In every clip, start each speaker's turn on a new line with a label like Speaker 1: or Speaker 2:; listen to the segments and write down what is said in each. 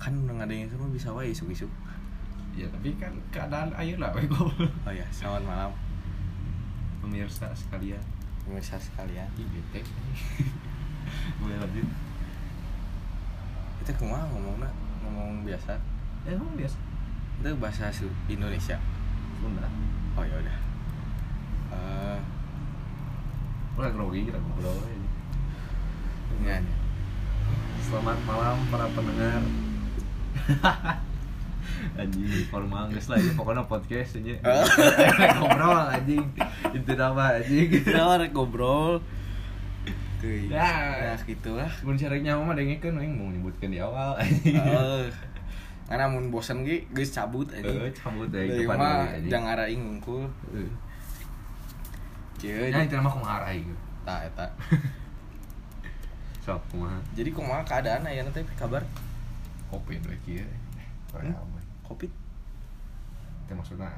Speaker 1: kan udah ada yang semua bisa wae isuk isuk
Speaker 2: ya tapi kan keadaan ayo lah weh, goblok.
Speaker 1: oh ya selamat malam
Speaker 2: pemirsa sekalian
Speaker 1: pemirsa sekalian
Speaker 2: Ih, bete boleh lanjut
Speaker 1: kita kumah ngomongnya ngomong biasa
Speaker 2: eh emang biasa
Speaker 1: itu bahasa Su- Indonesia
Speaker 2: Sunda
Speaker 1: oh ya udah Eh,
Speaker 2: udah grogi kita ngobrol aja.
Speaker 1: dengan
Speaker 2: selamat malam para pendengar anjing formal guys lah ini pokoknya podcast aja ngobrol anjing itu nama anjing
Speaker 1: kita orang ngobrol Tuh,
Speaker 2: Ya.
Speaker 1: ya gitulah
Speaker 2: Mun cerek nyawa mah dengekeun aing mau nyebutkeun di awal.
Speaker 1: Eh, karena mun bosen ge geus cabut aja
Speaker 2: Eh, cabut deui
Speaker 1: dari
Speaker 2: depan
Speaker 1: mah
Speaker 2: deui, anjing.
Speaker 1: Iya, jangan arahin ngungkul
Speaker 2: Eh.
Speaker 1: cie
Speaker 2: Nya itu mah kumaha aing.
Speaker 1: tak tak
Speaker 2: Sok kumaha.
Speaker 1: jadi kumaha keadaan aya nanti kabar
Speaker 2: Kopi ya. we kieu.
Speaker 1: Hmm? covid
Speaker 2: Teh maksudna.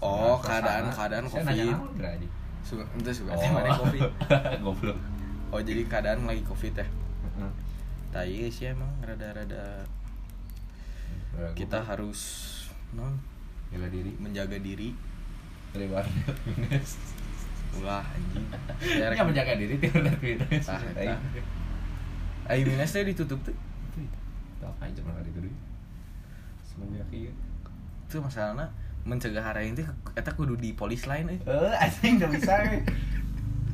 Speaker 1: Oh, keadaan- keadaan
Speaker 2: Saya nanya
Speaker 1: COVID.
Speaker 2: naon geura, anjing?
Speaker 1: Su- ente suka teh mana covid
Speaker 2: Oh. Goblok.
Speaker 1: oh jadi keadaan lagi covid ya
Speaker 2: Heeh.
Speaker 1: tai sih emang rada-rada kita harus non
Speaker 2: bela diri
Speaker 1: menjaga diri
Speaker 2: dari warnet minus.
Speaker 1: ulah anjing
Speaker 2: Ya
Speaker 1: Derek.
Speaker 2: menjaga diri di warnet minus.
Speaker 1: Tah,
Speaker 2: Aing.
Speaker 1: tah. ayo minus teh ditutup tuh
Speaker 2: Itu apa aja malah di deui. Semenjak ieu.
Speaker 1: itu masalahnya mencegah hara itu eta kudu di polis lain eh
Speaker 2: Eh, anjing udah bisa. we.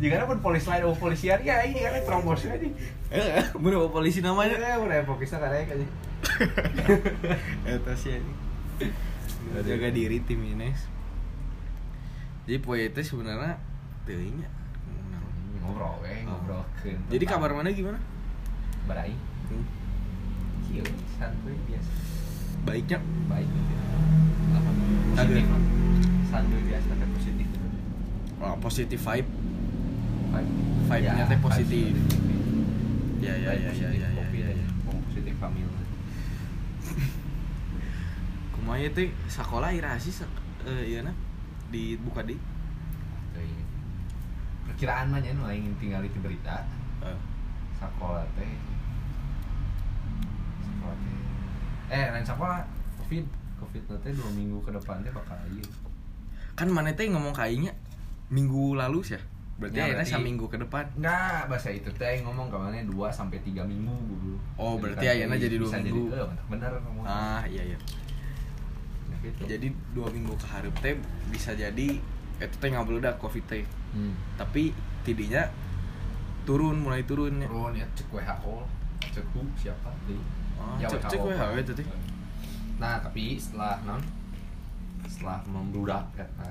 Speaker 2: Jika pun polis lain, oh polisian ya ini kan trombosnya nih.
Speaker 1: Eh, bener apa polisi namanya
Speaker 2: Mana Eh, udah fokusnya karena aja.
Speaker 1: eta sih anjing menjaga diri tim minus jadi poe teh sebenarnya teuingnya
Speaker 2: Ngobrol, eh ngobrol.
Speaker 1: Oh. jadi kabar mana gimana Hmm?
Speaker 2: Berai. Kieu santuy biasa.
Speaker 1: baiknya
Speaker 2: Baik.
Speaker 1: Positif, lah.
Speaker 2: Santuy biasa tapi positif.
Speaker 1: oh, positive vibe
Speaker 2: Baik.
Speaker 1: Vibe-nya teh positif. ya ya ya ya ya ya, ya, ya.
Speaker 2: Positif family.
Speaker 1: kumaya teh sekolah irasi sak eh iya na di buka di
Speaker 2: Perkiraan mah nya nu aing tinggal di berita.
Speaker 1: eh,
Speaker 2: sekolah teh sekolah teh eh lain sekolah covid covid teh dua minggu ke depan teh bakal iya
Speaker 1: kan mana teh ngomong kainya minggu lalu sih ya berarti
Speaker 2: Ya,
Speaker 1: ya,
Speaker 2: berarti-
Speaker 1: minggu ke depan
Speaker 2: enggak bahasa itu teh yang ngomong kemana dua sampai tiga minggu dulu
Speaker 1: Oh, berarti
Speaker 2: kan
Speaker 1: ayeuna jadi dua
Speaker 2: bisa
Speaker 1: minggu.
Speaker 2: jadi, eh, mantap bener ngomong
Speaker 1: ah iya iya
Speaker 2: Nah, gitu.
Speaker 1: jadi dua minggu ke hareup teh bisa jadi itu teh ngabludak covid teh
Speaker 2: hmm.
Speaker 1: tapi tidinya turun mulai turunnya
Speaker 2: Turun ya cek WHO cek WHO siapa tuh
Speaker 1: Oh, cek- cek WHO itu teh.
Speaker 2: nah tapi setelah non setelah membludak kata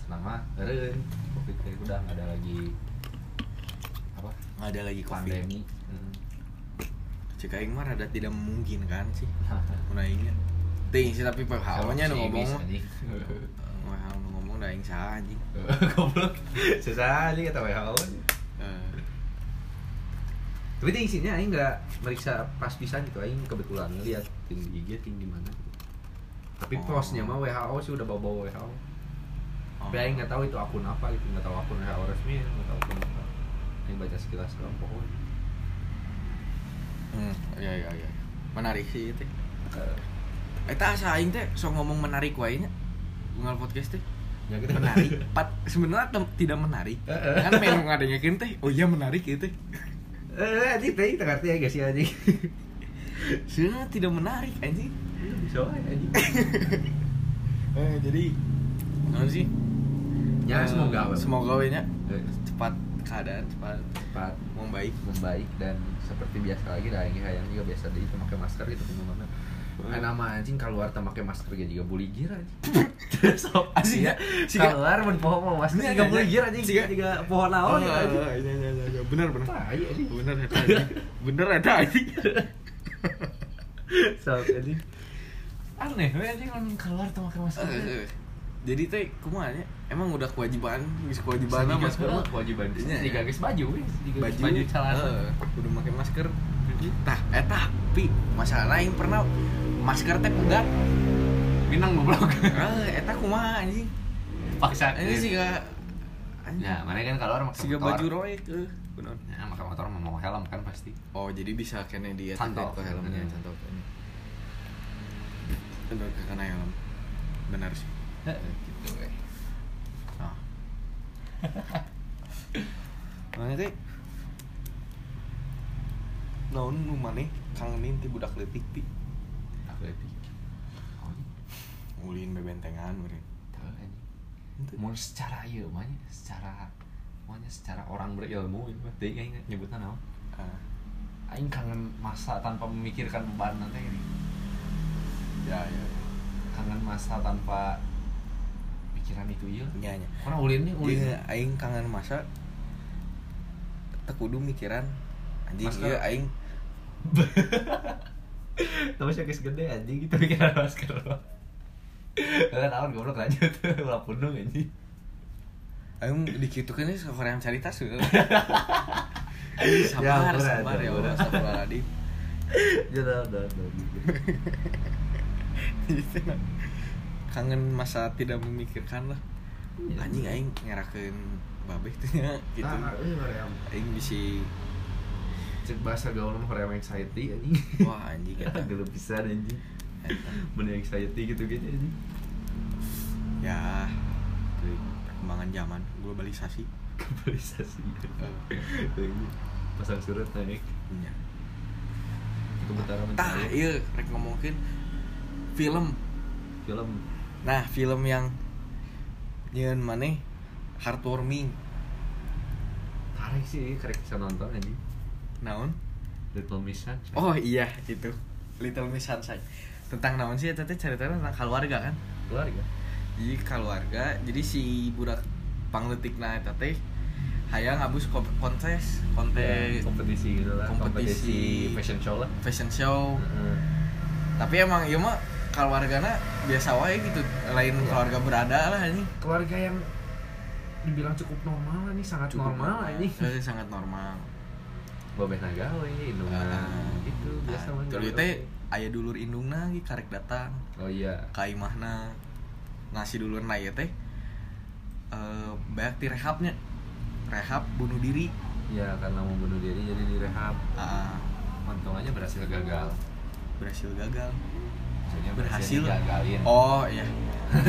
Speaker 2: selama eren covid teh udah nggak ada lagi apa
Speaker 1: nggak ada lagi covid
Speaker 2: pandemi Hmm.
Speaker 1: cek aing mah rada tidak memungkinkan sih Mulainya Ting sih tapi WHO nya nu ngomong mah.
Speaker 2: anjing.
Speaker 1: WHO nu ngomong da aing salah anjing.
Speaker 2: goblok susah aja kata WHO
Speaker 1: Eh,
Speaker 2: tapi dia isinya aing nggak meriksa pas pisan gitu aing kebetulan lihat ting di IG ting di mana gitu. tapi
Speaker 1: Oh.
Speaker 2: postnya mah WHO sih udah bawa bawa WHO
Speaker 1: oh.
Speaker 2: tapi aing nggak tahu itu akun apa gitu nggak tahu akun WHO resmi nggak tahu akun apa aing baca sekilas doang pokoknya
Speaker 1: Hmm, iya iya iya. Menarik sih teh.
Speaker 2: Eh,
Speaker 1: Eta asa aing teh sok ngomong menarik wae nya. Unggal podcast teh.
Speaker 2: ya kita
Speaker 1: Menarik. Pat sebenarnya tem- tidak menarik.
Speaker 2: Heeh.
Speaker 1: Kan main ngadanya teh. Oh iya menarik itu.
Speaker 2: eh anjing teh kita ngerti ya guys ya anjing
Speaker 1: Sebenarnya tidak menarik anjing.
Speaker 2: Iya, bisa aja anjing
Speaker 1: Eh jadi naon sih?
Speaker 2: ya
Speaker 1: Eh,
Speaker 2: semoga we.
Speaker 1: Semoga we nya
Speaker 2: Eh,
Speaker 1: cepat keadaan cepat
Speaker 2: cepat
Speaker 1: membaik.
Speaker 2: membaik dan seperti biasa lagi dah yang hayang juga biasa deh itu pakai masker gitu kemana mana
Speaker 1: Hmm.
Speaker 2: nama anjing keluar tak pakai masker ge juga boleh gir anjing so
Speaker 1: Asli,
Speaker 2: aslinya
Speaker 1: sih, Kak.
Speaker 2: keluar mun pohon mau masker juga
Speaker 1: Ini aja,
Speaker 2: boleh
Speaker 1: aja.
Speaker 2: gir Iya, anjing
Speaker 1: Sih, Kak.
Speaker 2: juga pohon naon gitu anjing
Speaker 1: Ah, iya iya iya benar benar.
Speaker 2: Tai, anjing.
Speaker 1: Bener ada anjing. Bener ada anjing.
Speaker 2: so anjing aneh we anjing mun keluar tak pakai masker
Speaker 1: Eh, eh. Jadi teh kumaha nya? Emang udah kewajiban, geus kewajiban lah masker mah.
Speaker 2: kewajiban
Speaker 1: Iya,
Speaker 2: tiga
Speaker 1: iya.
Speaker 2: guys baju we. Tiga geus
Speaker 1: Baju,
Speaker 2: baju celana
Speaker 1: eh, kudu make masker. Tah, eh tapi masalah yang pernah masker teh pegat.
Speaker 2: minang goblok
Speaker 1: Eh, eta kumaha anjing?
Speaker 2: paksa
Speaker 1: Ini sih gak
Speaker 2: nah mana kan keluar pakai
Speaker 1: Siga
Speaker 2: motor.
Speaker 1: baju roek eh. Bener.
Speaker 2: Nah, pakai motor mau helm kan pasti
Speaker 1: Oh, jadi bisa kene dia
Speaker 2: Cantol.
Speaker 1: teh ke helmnya
Speaker 2: Hmm.
Speaker 1: cantol kene. udah ke kana helm benar sih eh,
Speaker 2: Heeh, gitu weh.
Speaker 1: nah mana teh naon nu maneh kangenin ti budak leutik pi
Speaker 2: Atletik. Oh,
Speaker 1: ulin bebentengan meureun
Speaker 2: tahu anjing.
Speaker 1: Henteu.
Speaker 2: Mun secara ieu mah nya, secara maunya secara orang berilmu ieu mah deui aing nyebutna naon?
Speaker 1: Ah,
Speaker 2: Aing kangen masa tanpa memikirkan beban nanti ini.
Speaker 1: ya ya
Speaker 2: Kangen masa tanpa pikiran itu ieu.
Speaker 1: nya nya
Speaker 2: Karena ulin nih ulin.
Speaker 1: Iya, aing kangen masa tekudu mikiran anjing
Speaker 2: Masker.
Speaker 1: ieu aing
Speaker 2: Tapi sih guys gede anjing gitu pikiran masker lo. Kan awal goblok lanjut ulah pundung anjing.
Speaker 1: aing dikitukeun geus hoream carita seueur. Aing
Speaker 2: Ya,
Speaker 1: sabar,
Speaker 2: berat,
Speaker 1: sabar
Speaker 2: ya,
Speaker 1: ya Allah,
Speaker 2: berat.
Speaker 1: sabar adik.
Speaker 2: Ya udah udah udah.
Speaker 1: kangen masa tidak memikirkan lah
Speaker 2: Iya.
Speaker 1: anjing aing ngerakeun babeh teh nya gitu
Speaker 2: Nah, eh, hoream.
Speaker 1: aing bisi
Speaker 2: Cek bahasa gaul mah hoream anxiety anjing.
Speaker 1: wah anjing
Speaker 2: Kita
Speaker 1: eta
Speaker 2: gelap pisan anjing.
Speaker 1: Eta.
Speaker 2: Mending anxiety gitu-gitu anjing.
Speaker 1: ya teuing, perkembangan zaman globalisasi
Speaker 2: Globalisasi.
Speaker 1: Eh.
Speaker 2: Anjing. Pasang surut nah, naik.
Speaker 1: nya
Speaker 2: Kebutara
Speaker 1: tah
Speaker 2: mencari
Speaker 1: ieu rek ngomongkeun film
Speaker 2: film
Speaker 1: nah film yang nyeun maneh heartwarming
Speaker 2: tarik sih karek bisa nonton anjing.
Speaker 1: naon
Speaker 2: Little Miss Sunshine.
Speaker 1: oh iya itu Little Miss Sunshine tentang naon sih eta teh ceritanya tentang keluarga kan
Speaker 2: keluar ya.
Speaker 1: jadi keluarga jadi si budak pangletik na eta teh hayang abus kom- kontes kontes
Speaker 2: kompetisi Oh. gitu lah.
Speaker 1: kompetisi.
Speaker 2: Kompetisi fashion show lah.
Speaker 1: fashion show
Speaker 2: Heeh.
Speaker 1: tapi emang ieu mah keluargana biasa wae gitu lain keluarga berada lah ini
Speaker 2: keluarga yang dibilang cukup normal lah nih sangat normal lah ini
Speaker 1: Eh, sangat normal
Speaker 2: bobeh nagawe indungan gitu biasa mah
Speaker 1: terus
Speaker 2: gawe.
Speaker 1: teh aya dulur indungna ge karek datang
Speaker 2: oh iya
Speaker 1: ka imahna nasi dulur na ieu teh eh banyak ti rehabnya rehab bunuh diri
Speaker 2: ya karena mau bunuh diri jadi direhab
Speaker 1: Ah,
Speaker 2: untungannya berhasil gagal
Speaker 1: berhasil gagal
Speaker 2: maksudnya
Speaker 1: Berhasil.
Speaker 2: gagalin oh
Speaker 1: Oh iya. Itu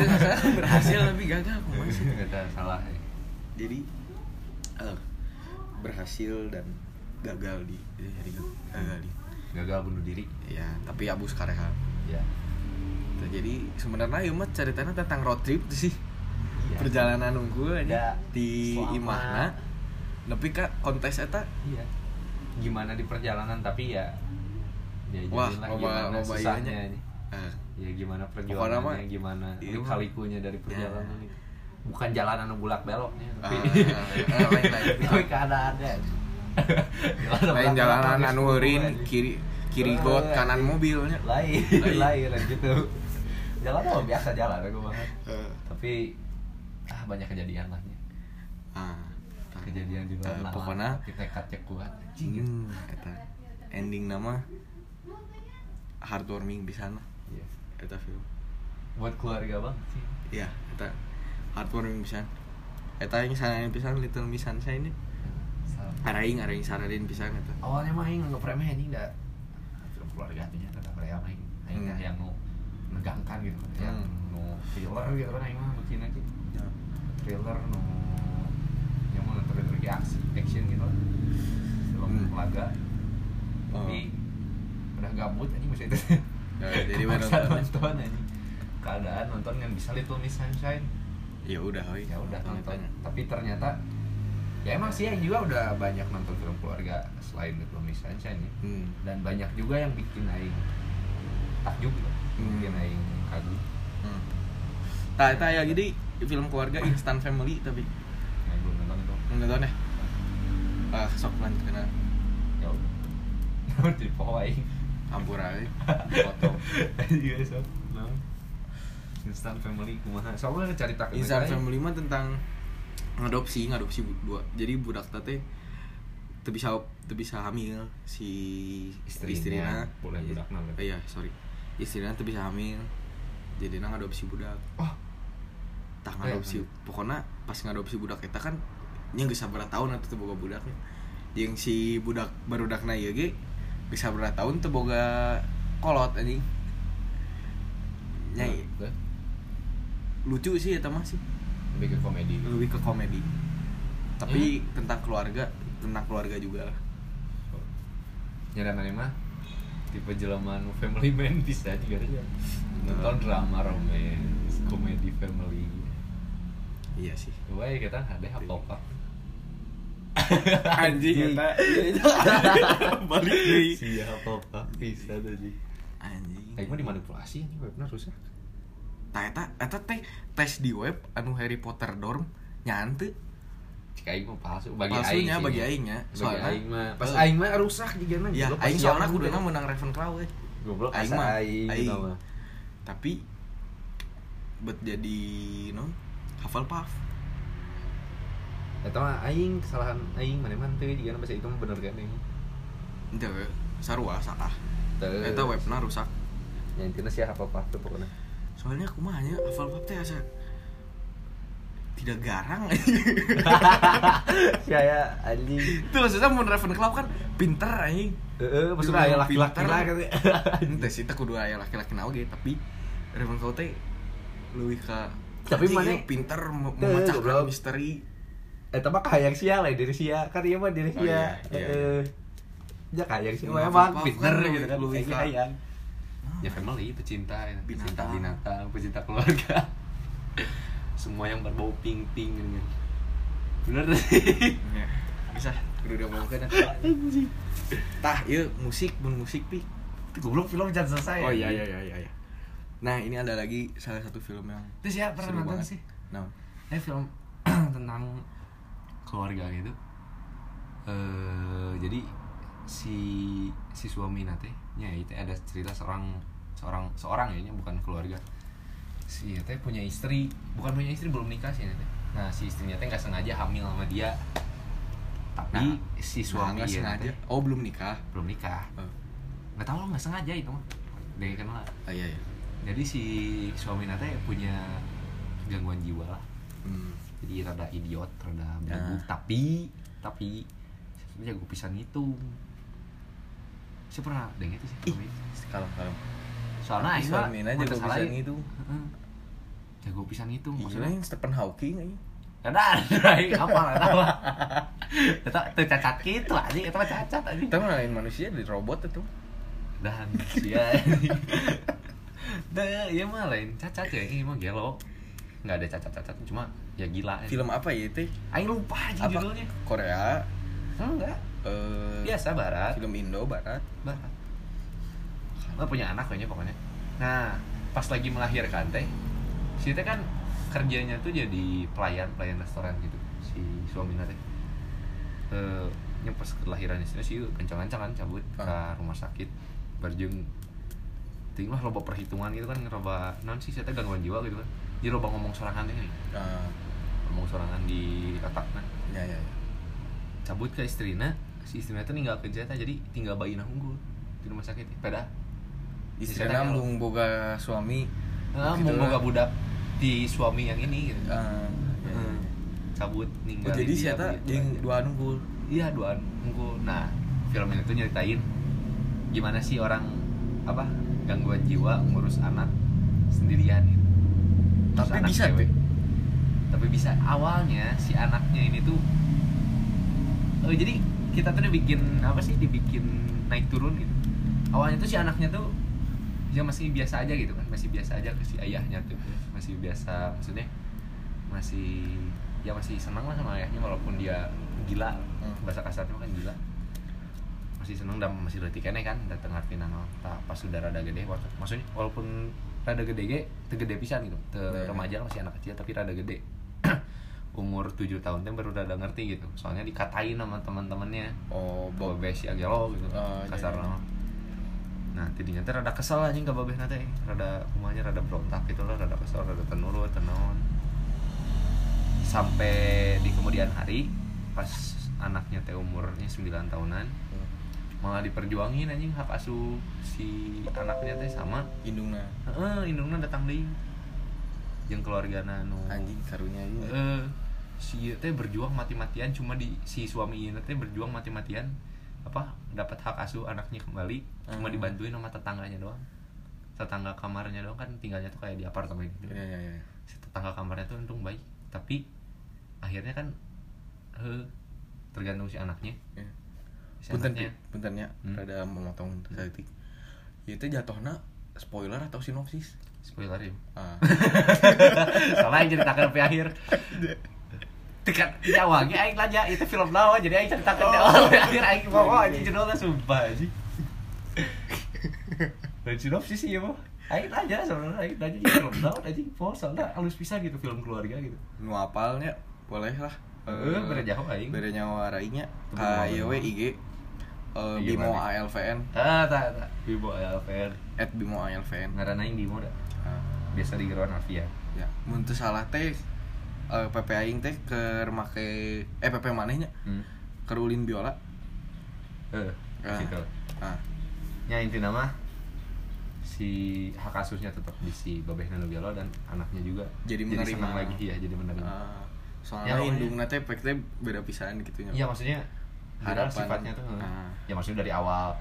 Speaker 1: nggak salah, berhasil tapi gagal kumaha sih?
Speaker 2: kita salah ya.
Speaker 1: Jadi eh, berhasil dan gagal di eh, jadi gag- gagal di.
Speaker 2: gagal bunuh diri
Speaker 1: Ya, tapi abus kareha.
Speaker 2: ya
Speaker 1: Tah, Jadi sebenarnya ieu mah ceritanya tentang road trip tuh sih.
Speaker 2: Iya.
Speaker 1: Perjalanan unggul
Speaker 2: Da,
Speaker 1: aja di
Speaker 2: selama-
Speaker 1: Imahna. Tapi ka kontes eta
Speaker 2: iya gimana di perjalanan tapi ya ya
Speaker 1: wah
Speaker 2: jadilah
Speaker 1: iya loba
Speaker 2: gimana
Speaker 1: loba
Speaker 2: susahnya
Speaker 1: ieunya.
Speaker 2: ini.
Speaker 1: Eh,
Speaker 2: ya gimana
Speaker 1: Pokoknya mah,
Speaker 2: perjuangannya gimana
Speaker 1: iya
Speaker 2: ini
Speaker 1: mah.
Speaker 2: kalikunya dari perjalanan
Speaker 1: Ya.
Speaker 2: ini bukan jalanan yang bulak beloknya tapi
Speaker 1: Ah, ah, ah, lain-lain.
Speaker 2: tapi keadaannya
Speaker 1: Lain jalanan anu eureun kiri kiri got
Speaker 2: Eh,
Speaker 1: kanan mobilnya.
Speaker 2: lain lain lain gitu jalan mah biasa jalan aku mah
Speaker 1: Eh,
Speaker 2: tapi ah banyak kejadian lah ya.
Speaker 1: ah, eh, tah.
Speaker 2: kejadian juga
Speaker 1: Tah,
Speaker 2: lah
Speaker 1: pokokna
Speaker 2: kita kacek kuat anjing
Speaker 1: Hmm, eta ending nama heartwarming pisan lah
Speaker 2: Iya.
Speaker 1: eta film.
Speaker 2: buat keluarga bang sih
Speaker 1: Iya, eta heartwarming pisan. Eta yang sanain pisan Little Miss Sunshine ini.
Speaker 2: Salah.
Speaker 1: Araing araing sararin pisan eta.
Speaker 2: awalnya mah aing nganggep remeh anjing da film keluarga atunya tetap rea mah aing aing teh
Speaker 1: Hmm.
Speaker 2: yang nu negangkan gitu kan yang
Speaker 1: Hmm.
Speaker 2: nu thriller gitu kan aing mah bikin aja thriller nu yang mau nonton thriller aksi action gitu lah film
Speaker 1: Hmm.
Speaker 2: keluarga
Speaker 1: Oh.
Speaker 2: tapi udah gabut anjing masih itu
Speaker 1: Ya, jadi baru
Speaker 2: Kepaksa
Speaker 1: nonton.
Speaker 2: nonton anjing keadaan nonton kan bisa Little Miss Sunshine
Speaker 1: Ya udah, oi.
Speaker 2: ya udah nonton
Speaker 1: Nonton.
Speaker 2: tapi ternyata ya emang sih yang juga udah banyak nonton film keluarga selain Little Miss Sunshine ya
Speaker 1: Hmm.
Speaker 2: dan banyak juga yang bikin aing takjub gitu.
Speaker 1: Hmm.
Speaker 2: bikin aing kagum
Speaker 1: Hmm. Tah eta aya gini film keluarga Instant Family tapi
Speaker 2: yang belum nonton itu
Speaker 1: nonton ya. Ah, sok lanjut kenal.
Speaker 2: ya udah di bawah aing
Speaker 1: Ampura euy. Dipotong.
Speaker 2: juga so no. instant family kumaha soalnya cari tak
Speaker 1: Instant Family mah tentang ngadopsi, ngadopsi bu- dua. Jadi budak teh teu bisa teu bisa hamil si
Speaker 2: Istrinya,
Speaker 1: istrina.
Speaker 2: boleh budak na, berarti.
Speaker 1: Iya, sorry. Istrina teu bisa hamil. Jadi ngadopsi budak.
Speaker 2: oh
Speaker 1: Tah
Speaker 2: Oh, iya,
Speaker 1: ngadopsi.
Speaker 2: iya. Pokoknya
Speaker 1: Pokona pas ngadopsi budak eta kan nya geus sabaraha taun atuh teu boga budaknya. Jeung si budak barudakna ieu ge geus sabaraha taun teu boga kolot anjing. Nyai.
Speaker 2: Teh,
Speaker 1: lucu sih ya mah sih
Speaker 2: lebih ke komedi
Speaker 1: lebih ke komedi tapi
Speaker 2: Hmm?
Speaker 1: tentang keluarga tentang keluarga juga lah
Speaker 2: nyerang mah tipe jelema nu family man bisa juga aja nonton drama romance komedi family
Speaker 1: iya sih
Speaker 2: Wah, kita ada apa apa?
Speaker 1: anjing kita balik nih
Speaker 2: Siapa apa? Bisa tadi.
Speaker 1: anjing
Speaker 2: Tapi mah dimanipulasi ini webnya rusak.
Speaker 1: Tah eta eta teh tes di web anu Harry Potter dorm nyante
Speaker 2: Jika aing mah palsu bagi aing.
Speaker 1: palsunya
Speaker 2: sih.
Speaker 1: bagi aingnya
Speaker 2: Bagi
Speaker 1: soalnya
Speaker 2: aing mah. Pas
Speaker 1: Eh.
Speaker 2: aing mah rusak juga mah.
Speaker 1: ya
Speaker 2: Goblok,
Speaker 1: aing
Speaker 2: pas
Speaker 1: soalnya
Speaker 2: siang
Speaker 1: aku
Speaker 2: udah.
Speaker 1: udah menang Ravenclaw eh
Speaker 2: Goblok
Speaker 1: Aing
Speaker 2: aing
Speaker 1: mah,
Speaker 2: mah. Aing
Speaker 1: aing.
Speaker 2: tau mah.
Speaker 1: tapi buat jadi non Hufflepuff
Speaker 2: Eta mah aing kesalahan aing mana mana teh juga bahasa itu mah bener kan aing.
Speaker 1: itu sarua salah
Speaker 2: Teu.
Speaker 1: eta webna rusak
Speaker 2: Ya intinya sih apa apa tuh pokoknya.
Speaker 1: soalnya aku mah hanya Hufflepuff teh asa tidak garang
Speaker 2: Saya anjing.
Speaker 1: itu maksudnya mun Ravenclaw kan pinter anjing
Speaker 2: Heeh, maksudnya aya laki-laki lah kan.
Speaker 1: Ente sih tak kudu aya laki-laki na oge tapi Ravenclaw teh leuwih ka
Speaker 2: Tapi
Speaker 1: anjing,
Speaker 2: mana-
Speaker 1: ieu pinter me-
Speaker 2: Teu,
Speaker 1: memecahkan
Speaker 2: goblok.
Speaker 1: misteri.
Speaker 2: Eta mah kahayang Eh, sia lah diri sia. Kan ieu mah diri
Speaker 1: Oh, iya,
Speaker 2: sia.
Speaker 1: iya.
Speaker 2: Heeh. Ya kahayang sia mah
Speaker 1: Maaf,
Speaker 2: emang
Speaker 1: maaf,
Speaker 2: pinter
Speaker 1: kan,
Speaker 2: gitu kan.
Speaker 1: lu
Speaker 2: Aing
Speaker 1: Ika.
Speaker 2: hayang. ya family pecinta ya.
Speaker 1: Binatang.
Speaker 2: pecinta binatang pecinta keluarga semua yang berbau pink pink gitu kan. bener
Speaker 1: Ya, Bisa kudu diomongkeun eta. Tah, ieu musik mun musik pi.
Speaker 2: goblok film jangan selesai
Speaker 1: Oh iya iya iya iya, iya. Nah, ini ada lagi salah satu film yang
Speaker 2: itu siapa pernah
Speaker 1: seru
Speaker 2: nonton
Speaker 1: banget.
Speaker 2: sih
Speaker 1: Nah,
Speaker 2: eh film tentang keluarga gitu eh jadi si si suami nate ya itu ada cerita seorang seorang seorang ya nya bukan keluarga si teh punya istri bukan punya istri belum nikah sih teh nah si istrinya teh nggak sengaja hamil sama dia tapi
Speaker 1: Nah,
Speaker 2: si suami iya,
Speaker 1: nggak
Speaker 2: ieu
Speaker 1: sengaja.
Speaker 2: teh
Speaker 1: Oh, belum nikah.
Speaker 2: belum nikah
Speaker 1: Oh,
Speaker 2: nggak tahu lah nggak sengaja itu mah dari kenal lah.
Speaker 1: ah, iya iya.
Speaker 2: jadi si suami nate punya gangguan jiwa lah
Speaker 1: Hmm.
Speaker 2: jadi rada idiot rada belagu
Speaker 1: Nah.
Speaker 2: tapi tapi saya jago pisan ngitung saya pernah deng itu sih
Speaker 1: Ih. Kalau kalau
Speaker 2: soalnya aing mah
Speaker 1: Suamina
Speaker 2: mun
Speaker 1: jago
Speaker 2: teu salah
Speaker 1: pisan
Speaker 2: ieu-
Speaker 1: ngitung. Iya.
Speaker 2: Heeh. jago pisan ngitung
Speaker 1: Maksudnya
Speaker 2: maksudnya Ya
Speaker 1: yang Stephen Hawking aja.
Speaker 2: ada ada aing apa ada apa eta teu cacat kitu anjing eta mah cacat anjing
Speaker 1: Kita mah lain manusia dari robot itu.
Speaker 2: dan sia Dah, iya mah lain cacat ya, ini mah gelo. Enggak ada cacat-cacat, cuma ya gila. ya.
Speaker 1: Film apa ya itu?
Speaker 2: Aing lupa aja
Speaker 1: Apa?
Speaker 2: judulnya. Iya,
Speaker 1: Korea,
Speaker 2: Enggak.
Speaker 1: eh
Speaker 2: Biasa barat.
Speaker 1: film Indo barat.
Speaker 2: Barat. Lo punya anak kayaknya pokoknya. Nah, pas lagi melahirkan teh, si teh kan kerjanya tuh jadi pelayan pelayan restoran gitu si suaminya teh. Eh, nya pas kelahiran istrinya sih kencang-kencangan cabut ke
Speaker 1: Ah.
Speaker 2: rumah sakit berjung ting lah loba perhitungan gitu kan loba non sih saya teh gangguan jiwa gitu kan jadi loba ngomong sorangan teh nih.
Speaker 1: Nah,
Speaker 2: ngomong sorangan di otaknya
Speaker 1: ya ya. ya.
Speaker 2: cabut ke istrinya si istrinya tuh ninggal kerja jadi tinggal bayi nah unggul di rumah sakit pada
Speaker 1: Istrinya mung boga suami.
Speaker 2: ah,
Speaker 1: Gitu
Speaker 2: mau
Speaker 1: lah.
Speaker 2: boga budak di suami yang ini gitu.
Speaker 1: Ah, ya, ya,
Speaker 2: Heeh.
Speaker 1: ya.
Speaker 2: cabut
Speaker 1: Oh,
Speaker 2: ninggal
Speaker 1: jadi siapa yang dua nunggul?
Speaker 2: iya dua unggul nah film ini tuh nyeritain gimana sih orang apa gangguan jiwa ngurus anak sendirian gitu. Terus
Speaker 1: Tapi
Speaker 2: anak
Speaker 1: bisa
Speaker 2: cewek.
Speaker 1: tuh.
Speaker 2: tapi bisa awalnya si anaknya ini tuh eh, jadi kita tuh dibikin apa sih dibikin naik turun gitu awalnya tuh si anaknya tuh dia masih biasa aja gitu kan masih biasa aja ke si ayahnya tuh masih biasa maksudnya masih ya masih senang lah sama ayahnya walaupun dia gila
Speaker 1: Hmm.
Speaker 2: bahasa kasarnya kan gila masih senang dan masih letih kene kan datang arti nano pas sudah rada gede wak- maksudnya walaupun rada gede ge teu gede pisan gitu teu
Speaker 1: Ya, ya.
Speaker 2: remaja masih anak kecil tapi rada gede umur 7 tahun teh baru rada ngerti gitu soalnya dikatain sama teman-temannya
Speaker 1: Oh,
Speaker 2: bawa
Speaker 1: boga.
Speaker 2: besi agak lo gitu
Speaker 1: Oh,
Speaker 2: kasar
Speaker 1: iya, iya.
Speaker 2: nama nah tidinya teh rada kesel anjing ke babeh nate rada kumanya rada berontak gitu lah rada kesel rada tenurut tenon sampai di kemudian hari pas anaknya teh umurnya 9 tahunan malah diperjuangin anjing hak asuh si anaknya teh sama
Speaker 1: Indungna
Speaker 2: heeh indungna datang deui jeung keluargana nu
Speaker 1: anjing karunya ini.
Speaker 2: eh si ieu teh berjuang mati-matian cuma di si suami ieu teh berjuang mati-matian apa dapat hak asuh anaknya kembali cuma
Speaker 1: Hmm.
Speaker 2: dibantuin sama tetangganya doang tetangga kamarnya doang kan tinggalnya tuh kayak di apartemen gitu
Speaker 1: Iya, iya, iya.
Speaker 2: si tetangga kamarnya tuh untung baik tapi akhirnya kan eh, tergantung si anaknya
Speaker 1: Iya.
Speaker 2: si
Speaker 1: Punten, Pi.
Speaker 2: anaknya
Speaker 1: puntennya
Speaker 2: Hmm.
Speaker 1: rada memotong detik. Itu jatuhna spoiler atau sinopsis?
Speaker 2: spoiler ya
Speaker 1: Ah.
Speaker 2: salah yang ceritakan sampai akhir dekat di awalnya aing aja itu film lawa jadi aing ceritakan di awal sampai akhir aing bawa aja judulnya sumpah aja dan sinopsis sih ya mah aing aja sebenarnya aing aja di film lawa aja poh soalnya halus pisah gitu film keluarga gitu
Speaker 1: nu apalnya boleh lah Eh,
Speaker 2: Heeh, bere jauh aing.
Speaker 1: bere nyawa rainya
Speaker 2: Teu
Speaker 1: ka
Speaker 2: bere
Speaker 1: ieu we
Speaker 2: nyawa.
Speaker 1: IG eh,
Speaker 2: IG
Speaker 1: Bimo
Speaker 2: mana?
Speaker 1: ALVN
Speaker 2: ah tak tak bibo alfer
Speaker 1: at Bimo ALVN
Speaker 2: ngaran aing di moda
Speaker 1: Ah,
Speaker 2: biasa di geroan Alfia
Speaker 1: ya mun teu salah teh eh, PP aing teh keur make eh PP manehnya
Speaker 2: hmm.
Speaker 1: keur ulin biola
Speaker 2: eh
Speaker 1: Ah.
Speaker 2: gitu
Speaker 1: ah
Speaker 2: ya intinya mah si hak kasusnya tetap di si Babeh Nanugalo dan anaknya juga
Speaker 1: Jadi menerima.
Speaker 2: senang lagi ya jadi menerima
Speaker 1: ah,
Speaker 2: Ya,
Speaker 1: soalnya
Speaker 2: pokoknya.
Speaker 1: indungna teh pek teh beda pisan gitu nya
Speaker 2: iya maksudnya harapan
Speaker 1: Harapan.
Speaker 2: sifatnya tuh heeh.
Speaker 1: Ah.
Speaker 2: ya maksudnya dari awal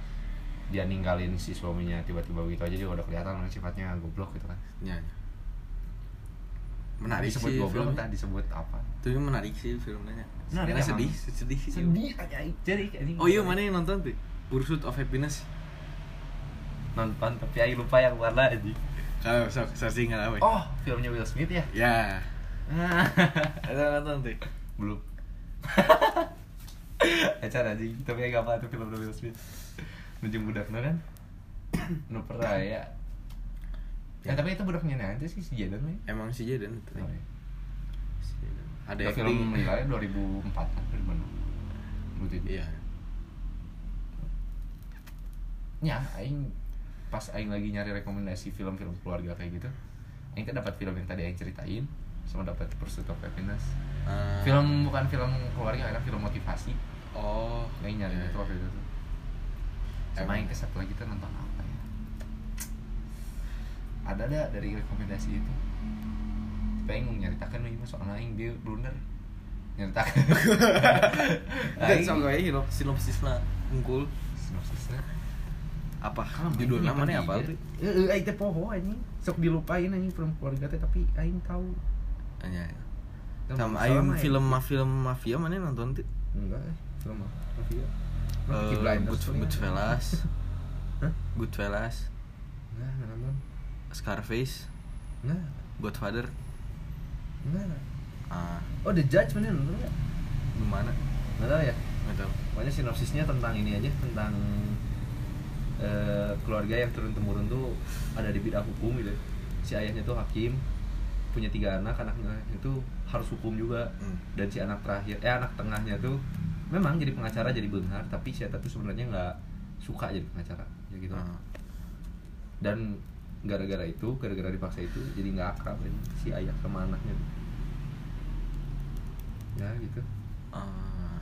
Speaker 2: dia ninggalin si suaminya tiba-tiba begitu aja juga udah kelihatan kan sifatnya goblok gitu kan
Speaker 1: Ya. menarik
Speaker 2: disebut
Speaker 1: sih
Speaker 2: goblok
Speaker 1: filmnya.
Speaker 2: entah disebut apa
Speaker 1: tapi menarik sih filmnya
Speaker 2: Menarik
Speaker 1: Sebenarnya
Speaker 2: emang.
Speaker 1: sedih sedih sih
Speaker 2: aja Iya. jadi
Speaker 1: Oh iya mana yang nonton tuh? Pursuit of Happiness.
Speaker 2: nonton tapi ayo lupa yang warna aja
Speaker 1: Kalau sok searching lah we.
Speaker 2: oh filmnya Will Smith ya
Speaker 1: Ya. Ah. Ada nonton tuh.
Speaker 2: belum acara aja tapi ya gak apa tuh film Will Smith nujung budaknya kan nu peraya ya.
Speaker 1: Ya.
Speaker 2: tapi itu budaknya nanti sih si Jaden nih
Speaker 1: Emang si Jaden itu. Si Jaden. Ada
Speaker 2: ada
Speaker 1: acting.
Speaker 2: film nilainya 2004 kan 2006 Waktu itu.
Speaker 1: Iya.
Speaker 2: ya aing pas aing lagi nyari rekomendasi film-film keluarga kayak gitu aing tuh dapat film yang tadi aing ceritain sama dapat Pursuit of Happiness
Speaker 1: Ah.
Speaker 2: film bukan film keluarga kan film motivasi
Speaker 1: Oh.
Speaker 2: Aing nyari
Speaker 1: iya.
Speaker 2: itu waktu itu tuh sama
Speaker 1: Emang.
Speaker 2: yang kesat lagi tuh nonton apa ya ada ada dari rekomendasi itu tapi Aing mau nyeritakan nih mas soalnya Aing dia blunder nyeritakan
Speaker 1: Dan
Speaker 2: Aing
Speaker 1: soalnya ini loh sinopsisnya unggul.
Speaker 2: sinopsisnya
Speaker 1: Apa?
Speaker 2: Kalem, Aing
Speaker 1: Judul
Speaker 2: nyimpen
Speaker 1: namanya
Speaker 2: di
Speaker 1: apa
Speaker 2: IG.
Speaker 1: tuh?
Speaker 2: Heeh, ya? Eh, Aing teh poho anjing sok dilupain anjing film keluarga teh tapi Aing tahu
Speaker 1: Anya.
Speaker 2: Tahu
Speaker 1: Iya, Sama
Speaker 2: soalnya
Speaker 1: ayam
Speaker 2: Aing-
Speaker 1: film mafia film mafia mana yang nonton tuh?
Speaker 2: enggak eh film apa Mafia. Mah, Peaky
Speaker 1: Eh,
Speaker 2: Blinders ya. paling.
Speaker 1: Good Goodfellas.
Speaker 2: Hah?
Speaker 1: Goodfellas,
Speaker 2: enggak enggak nonton
Speaker 1: Scarface,
Speaker 2: enggak
Speaker 1: Godfather.
Speaker 2: enggak
Speaker 1: Ah,
Speaker 2: oh The Judge mana nonton enggak
Speaker 1: gimana?
Speaker 2: enggak tahu ya
Speaker 1: Nggak tahu.
Speaker 2: Pokoknya sinopsisnya tentang ini aja tentang eh, keluarga yang turun temurun tuh ada di bidang hukum gitu. Si ayahnya tuh hakim, punya tiga anak, anaknya itu harus hukum juga.
Speaker 1: Hmm.
Speaker 2: Dan si anak terakhir, eh anak tengahnya tuh memang jadi pengacara jadi benghar, tapi si Eta tuh sebenarnya nggak suka jadi pengacara, ya gitu.
Speaker 1: Ah.
Speaker 2: Dan gara-gara itu, gara-gara dipaksa itu, jadi nggak akrab ini si ayah sama anaknya. tuh. Ya gitu.
Speaker 1: Ah.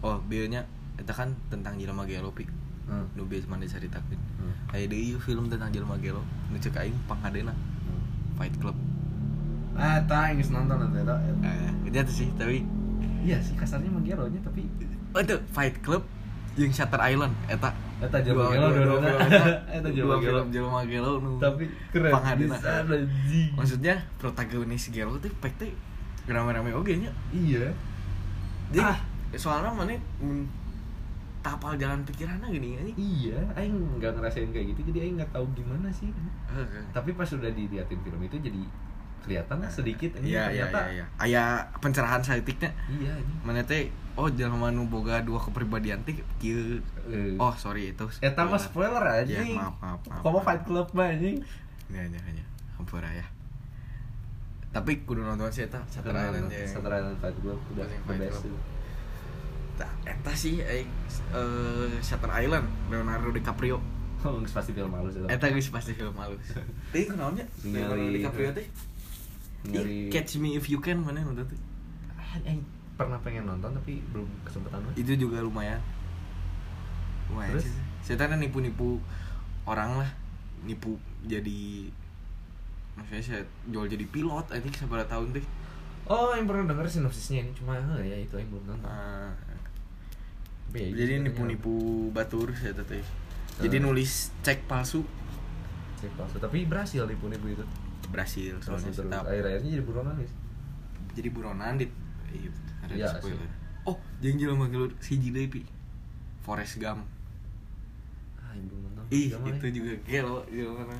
Speaker 1: Oh, bieunya eta kan tentang jelema gelo pik.
Speaker 2: Hmm.
Speaker 1: Nu bieu mah dicaritakeun.
Speaker 2: Hmm.
Speaker 1: Aya deui film tentang jelema gelo, nu ceuk aing panghadena
Speaker 2: Hmm.
Speaker 1: Fight Club.
Speaker 2: Ah, tak yang nonton nanti tak.
Speaker 1: Eh, itu aja sih, tapi
Speaker 2: Iya sih kasarnya emang gelo nya tapi
Speaker 1: oh itu Fight Club yang Shutter Island eta
Speaker 2: eta
Speaker 1: dua
Speaker 2: jelema gelo
Speaker 1: dua
Speaker 2: dua
Speaker 1: dua film eta
Speaker 2: Eta
Speaker 1: dua
Speaker 2: jelema gelo.
Speaker 1: film jelema gelo nu
Speaker 2: Tapi keren
Speaker 1: panghadeuna.
Speaker 2: pisan, anjing.
Speaker 1: Maksudnya protagonis gelo teh pek teh rame-rame oge nya.
Speaker 2: Iya.
Speaker 1: Jadi,
Speaker 2: Ah.
Speaker 1: soalnya mana mm, tapal jalan pikirannya gini ini.
Speaker 2: Iya, aing nggak ngerasain kayak gitu jadi aing nggak tahu gimana sih.
Speaker 1: Hmm.
Speaker 2: Tapi pas sudah diliatin film itu jadi kelihatan sedikit ini
Speaker 1: Iya, iya,
Speaker 2: ternyata.
Speaker 1: iya, iya. Aya pencerahan saeutiknya.
Speaker 2: Iya, ini.
Speaker 1: Mana teh oh jelema nu boga dua kepribadian teh kieu.
Speaker 2: Eh.
Speaker 1: Oh, sorry itu.
Speaker 2: Eta mah spoiler
Speaker 1: Ya,
Speaker 2: anjing.
Speaker 1: maaf, maaf, maaf.
Speaker 2: Kamu Fight Club mah anjing.
Speaker 1: Ya, ya, ya. Hampura ya. Tapi kudu nonton sih eta Shutter Island ya.
Speaker 2: Shutter Island Fight Club udah
Speaker 1: Yang
Speaker 2: the
Speaker 1: Fight
Speaker 2: best.
Speaker 1: Club. Tah, Eta sih eh, eh, Shutter Island Leonardo DiCaprio.
Speaker 2: Oh, nggak pasti film halus itu.
Speaker 1: Eta geus pasti film halus. Teh kenaonnya? Leonardo
Speaker 2: Ningali-
Speaker 1: DiCaprio teh. Ih,
Speaker 2: Ngeri-
Speaker 1: Catch Me If You Can mana nonton tuh?
Speaker 2: Ah, Aing pernah pengen nonton tapi belum kesempatan lah.
Speaker 1: Itu juga lumayan. Lumayan
Speaker 2: Terus?
Speaker 1: sih. Setannya nipu-nipu orang lah, nipu jadi maksudnya saya jual jadi pilot aja seberapa tahun deh. Nah,
Speaker 2: Oh, yang pernah denger sinopsisnya ini cuma eh, ya itu yang belum nonton.
Speaker 1: Ah,
Speaker 2: Iya, ya. iya,
Speaker 1: jadi
Speaker 2: katanya
Speaker 1: nipu-nipu batur saya teh jadi
Speaker 2: Eh.
Speaker 1: nulis cek palsu
Speaker 2: apa? Cek palsu. Tapi berhasil nipu-nipu itu.
Speaker 1: berhasil
Speaker 2: Berhasil
Speaker 1: soalnya
Speaker 2: terus.
Speaker 1: tetap
Speaker 2: Akhir-akhirnya jadi buruan nangis.
Speaker 1: jadi buronan dit iya ada
Speaker 2: Iya,
Speaker 1: spoiler
Speaker 2: sih.
Speaker 1: oh jangan jangan manggil si Jidai pi Forest Gump
Speaker 2: Ah, ibu menang.
Speaker 1: ih
Speaker 2: Gimana
Speaker 1: itu
Speaker 2: ya?
Speaker 1: juga Iya, gelo di mana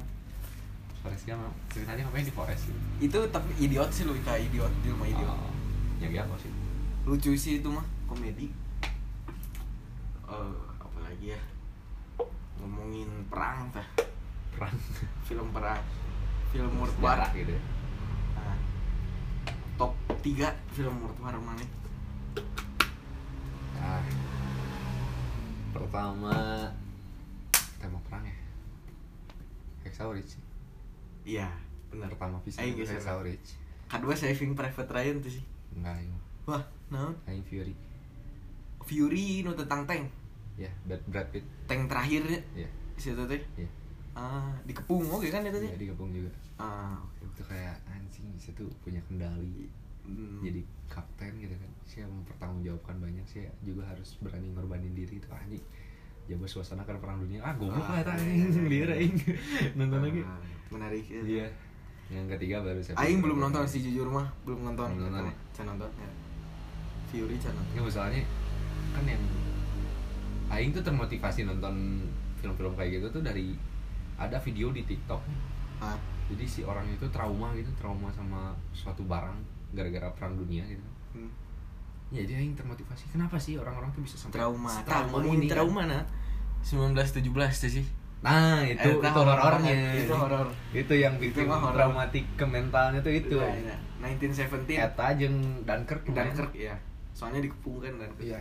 Speaker 2: Forest Gump emang. ceritanya ngapain di Forest gitu?
Speaker 1: itu tapi idiot sih lebih kayak idiot di rumah idiot
Speaker 2: Oh, ya gak apa sih?
Speaker 1: lucu sih itu mah komedi Eh, apa lagi ya ngomongin perang tah
Speaker 2: Perang.
Speaker 1: film perang film
Speaker 2: Sejarah
Speaker 1: murtwar
Speaker 2: gitu. ya.
Speaker 1: Nah, top 3 film murtwar mana
Speaker 2: Nah, pertama tema perang ya. Hexaurich. sih.
Speaker 1: iya benar
Speaker 2: Pertama bisa
Speaker 1: Aing
Speaker 2: itu
Speaker 1: geser.
Speaker 2: Hexaurich.
Speaker 1: iya, kedua saving private Ryan tuh sih
Speaker 2: Enggak, Aing.
Speaker 1: wah naon
Speaker 2: Aing Fury.
Speaker 1: Fury nu tentang tank
Speaker 2: Ya, Brad, Brad Pitt.
Speaker 1: tank terakhirnya
Speaker 2: Ya,
Speaker 1: si itu teh
Speaker 2: ya.
Speaker 1: ah dikepung oke kan itu
Speaker 2: Dia
Speaker 1: teh
Speaker 2: digabung juga.
Speaker 1: ah oke oke
Speaker 2: Itu kayak anjing bisa tuh punya kendali.
Speaker 1: Hmm,
Speaker 2: Jadi kapten gitu kan. Saya mempertanggungjawabkan banyak. Saya juga harus berani ngorbanin diri itu anjing. Jaga suasana kan perang dunia. Ah, goblok
Speaker 1: Ah,
Speaker 2: lah eta
Speaker 1: iya, iya,
Speaker 2: anjing.
Speaker 1: iya.
Speaker 2: Liar aing. Nonton lagi.
Speaker 1: ah, menarik ya.
Speaker 2: Iya. Yang ketiga baru saya.
Speaker 1: Aing belum nonton sih jujur mah belum nonton.
Speaker 2: Belum nonton,
Speaker 1: Nonton. Can nonton. Ya. Fury can nonton.
Speaker 2: Ya masalahnya kan yang Aing tuh termotivasi nonton film-film kayak gitu tuh dari ada video di TikTok.
Speaker 1: Hah?
Speaker 2: Jadi si orang itu trauma gitu, trauma sama suatu barang gara-gara perang dunia gitu.
Speaker 1: Hmm.
Speaker 2: Ya dia yang termotivasi. Kenapa sih orang-orang tuh bisa sampai
Speaker 1: Trauma. Tah,
Speaker 2: trauma
Speaker 1: ngomongin
Speaker 2: ini? kan?
Speaker 1: trauma nah. 1917 tuh sih.
Speaker 2: Nah itu
Speaker 1: Eh, tah,
Speaker 2: itu horornya.
Speaker 1: Itu horor.
Speaker 2: Itu yang bikin
Speaker 1: mah horor.
Speaker 2: traumatik ke mentalnya tuh itu.
Speaker 1: Nah, iya. 1917.
Speaker 2: Eta jeung Dunkirk.
Speaker 1: Dunkirk ya. Soalnya dikepung kan Dunkirk.
Speaker 2: Iya.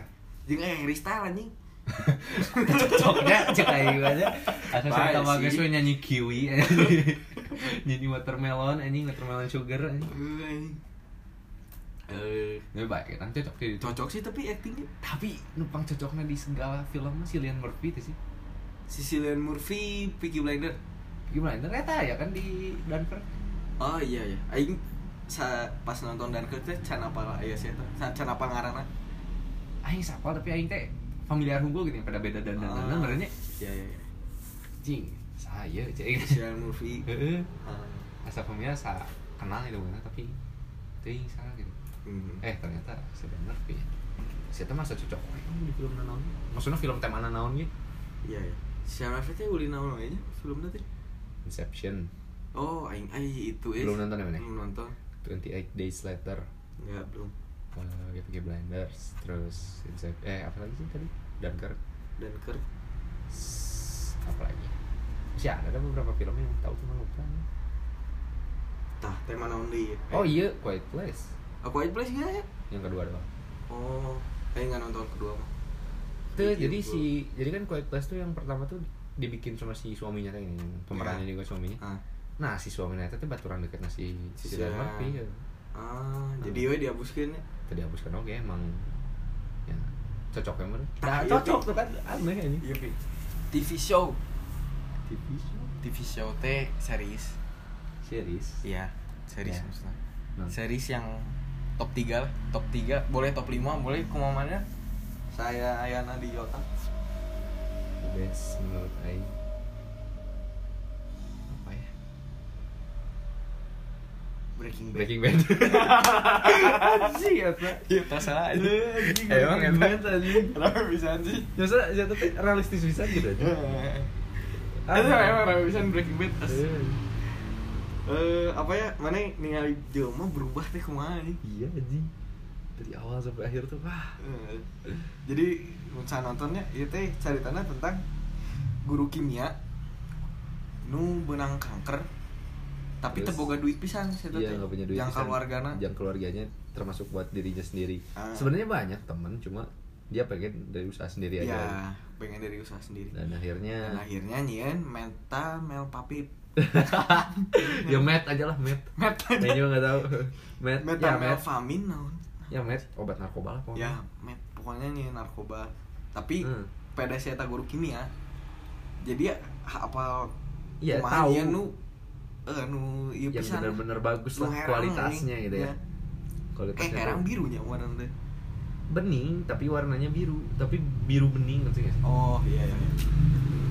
Speaker 1: Jeung eh Harry Styles anjing.
Speaker 2: Cocoknya cek aing gitu aja. Asa
Speaker 1: Baik
Speaker 2: saya tambah
Speaker 1: sih.
Speaker 2: geus we nyanyi kiwi. nyanyi watermelon anjing watermelon sugar anjing.
Speaker 1: Eh, anjing. Eh,
Speaker 2: Ya baik, kan cocok di itu.
Speaker 1: cocok sih tapi aktingnya
Speaker 2: Tapi numpang cocoknya di segala film mah si Cillian Murphy itu sih.
Speaker 1: Sicilian Murphy, Peaky Blinder.
Speaker 2: Gimana? Ternyata ya kan di Dunkirk.
Speaker 1: Oh iya iya. Aing sa pas nonton Dunkirk teh can apa ya sih eta? Sa- Can apa ngaranna?
Speaker 2: Aing sapal tapi aing teh familiar hunkul gitu pada beda dan dan dan
Speaker 1: Ah.
Speaker 2: berarti
Speaker 1: Iya iya iya.
Speaker 2: cing saya cing.
Speaker 1: Sicilian Murphy.
Speaker 2: Heeh.
Speaker 1: Ah,
Speaker 2: Asa familiar sa kenal itu bener tapi teuing salah gitu.
Speaker 1: hmm.
Speaker 2: eh ternyata saya bener sih saya teh masa cocok oh, di film naon ge? maksudnya film tema naon gitu
Speaker 1: Iya iya. Sicilian Murphy teh ulin naon we nya filmna teh?
Speaker 2: Inception
Speaker 1: Oh, aing ai itu eh.
Speaker 2: Belum nonton ya, Maneh?
Speaker 1: Belum nonton.
Speaker 2: 28 Days Later
Speaker 1: Enggak, belum.
Speaker 2: uh, Peaky Blinders terus Inception eh apa lagi sih tadi Dunkirk
Speaker 1: Dunkirk.
Speaker 2: S- apa lagi sih ada ada beberapa film yang tahu cuma lupa
Speaker 1: Tah, Nah, tema naon deui? ya?
Speaker 2: oh iya Quiet Place
Speaker 1: A Quiet Place enggak ya?
Speaker 2: yang kedua doang
Speaker 1: Oh, aing enggak nonton kedua mah.
Speaker 2: Tuh,
Speaker 1: Iya,
Speaker 2: jadi
Speaker 1: gua-
Speaker 2: si jadi kan Quiet Place tuh yang pertama tuh dibikin sama si suaminya tadi yang pemerannya
Speaker 1: Iya.
Speaker 2: juga suaminya
Speaker 1: Ah.
Speaker 2: nah si suaminya itu tuh baturan deket nasi si
Speaker 1: Si
Speaker 2: Cillian
Speaker 1: Cillian.
Speaker 2: Murphy ya.
Speaker 1: Ah, jadi we dihapuskeun ya.
Speaker 2: tadi hapuskan oke emang ya cocok ya menurut
Speaker 1: Nah,
Speaker 2: cocok tuh kan aneh ini
Speaker 1: Iya, Pi. TV show.
Speaker 2: TV show
Speaker 1: TV show teh series.
Speaker 2: series
Speaker 1: Iya,
Speaker 2: Iya.
Speaker 1: series maksudnya.
Speaker 2: Nah.
Speaker 1: Series yang top 3 lah, top 3, boleh top 5, boleh kumamanya. Saya Ayana di Yota.
Speaker 2: the best menurut Aing apa ya
Speaker 1: Breaking Bad.
Speaker 2: Breaking Bad sih ya
Speaker 1: Iya, tak salah aja.
Speaker 2: emang
Speaker 1: Breaking Bad.
Speaker 2: Bad anjing
Speaker 1: Kenapa bisa sih?
Speaker 2: ya jatuh tuh realistis bisa gitu aja Ah.
Speaker 1: Itu emang rame bisa Breaking Bad. as. Eh, apa ya? Mana ningali jelema berubah teh kumaha nih?
Speaker 2: iya anjing dari awal sampai akhir tuh wah
Speaker 1: Eh, jadi saya nontonnya itu teh ceritanya tentang guru kimia nu benang kanker tapi
Speaker 2: Terus?
Speaker 1: teboga duit pisan saya
Speaker 2: iya nggak punya duit
Speaker 1: yang
Speaker 2: pisan.
Speaker 1: keluargana
Speaker 2: yang keluarganya termasuk buat dirinya sendiri
Speaker 1: Ah.
Speaker 2: sebenarnya banyak temen cuma dia pengen dari usaha sendiri aja
Speaker 1: ya pengen dari usaha sendiri
Speaker 2: dan akhirnya
Speaker 1: dan akhirnya nyian meta mel papip
Speaker 2: ya met aja lah met
Speaker 1: Met aja.
Speaker 2: Ini juga nggak tahu met
Speaker 1: meta
Speaker 2: ya met
Speaker 1: melfamin naon
Speaker 2: ya met obat narkoba lah pokoknya
Speaker 1: ya met pokoknya nih narkoba tapi
Speaker 2: Hmm.
Speaker 1: pada saya guru kimia jadi apa
Speaker 2: Iya,
Speaker 1: kumaha
Speaker 2: tahu.
Speaker 1: nya nu eh nu ieu
Speaker 2: yang
Speaker 1: pisan.
Speaker 2: benar-benar bagus lah
Speaker 1: Lu herang,
Speaker 2: kualitasnya ya,
Speaker 1: nih. Iya.
Speaker 2: gitu ya
Speaker 1: eh
Speaker 2: kualitasnya
Speaker 1: herang
Speaker 2: tuh-
Speaker 1: birunya warna teh
Speaker 2: bening tapi warnanya biru tapi biru bening ngerti gak sih
Speaker 1: oh iya iya iya.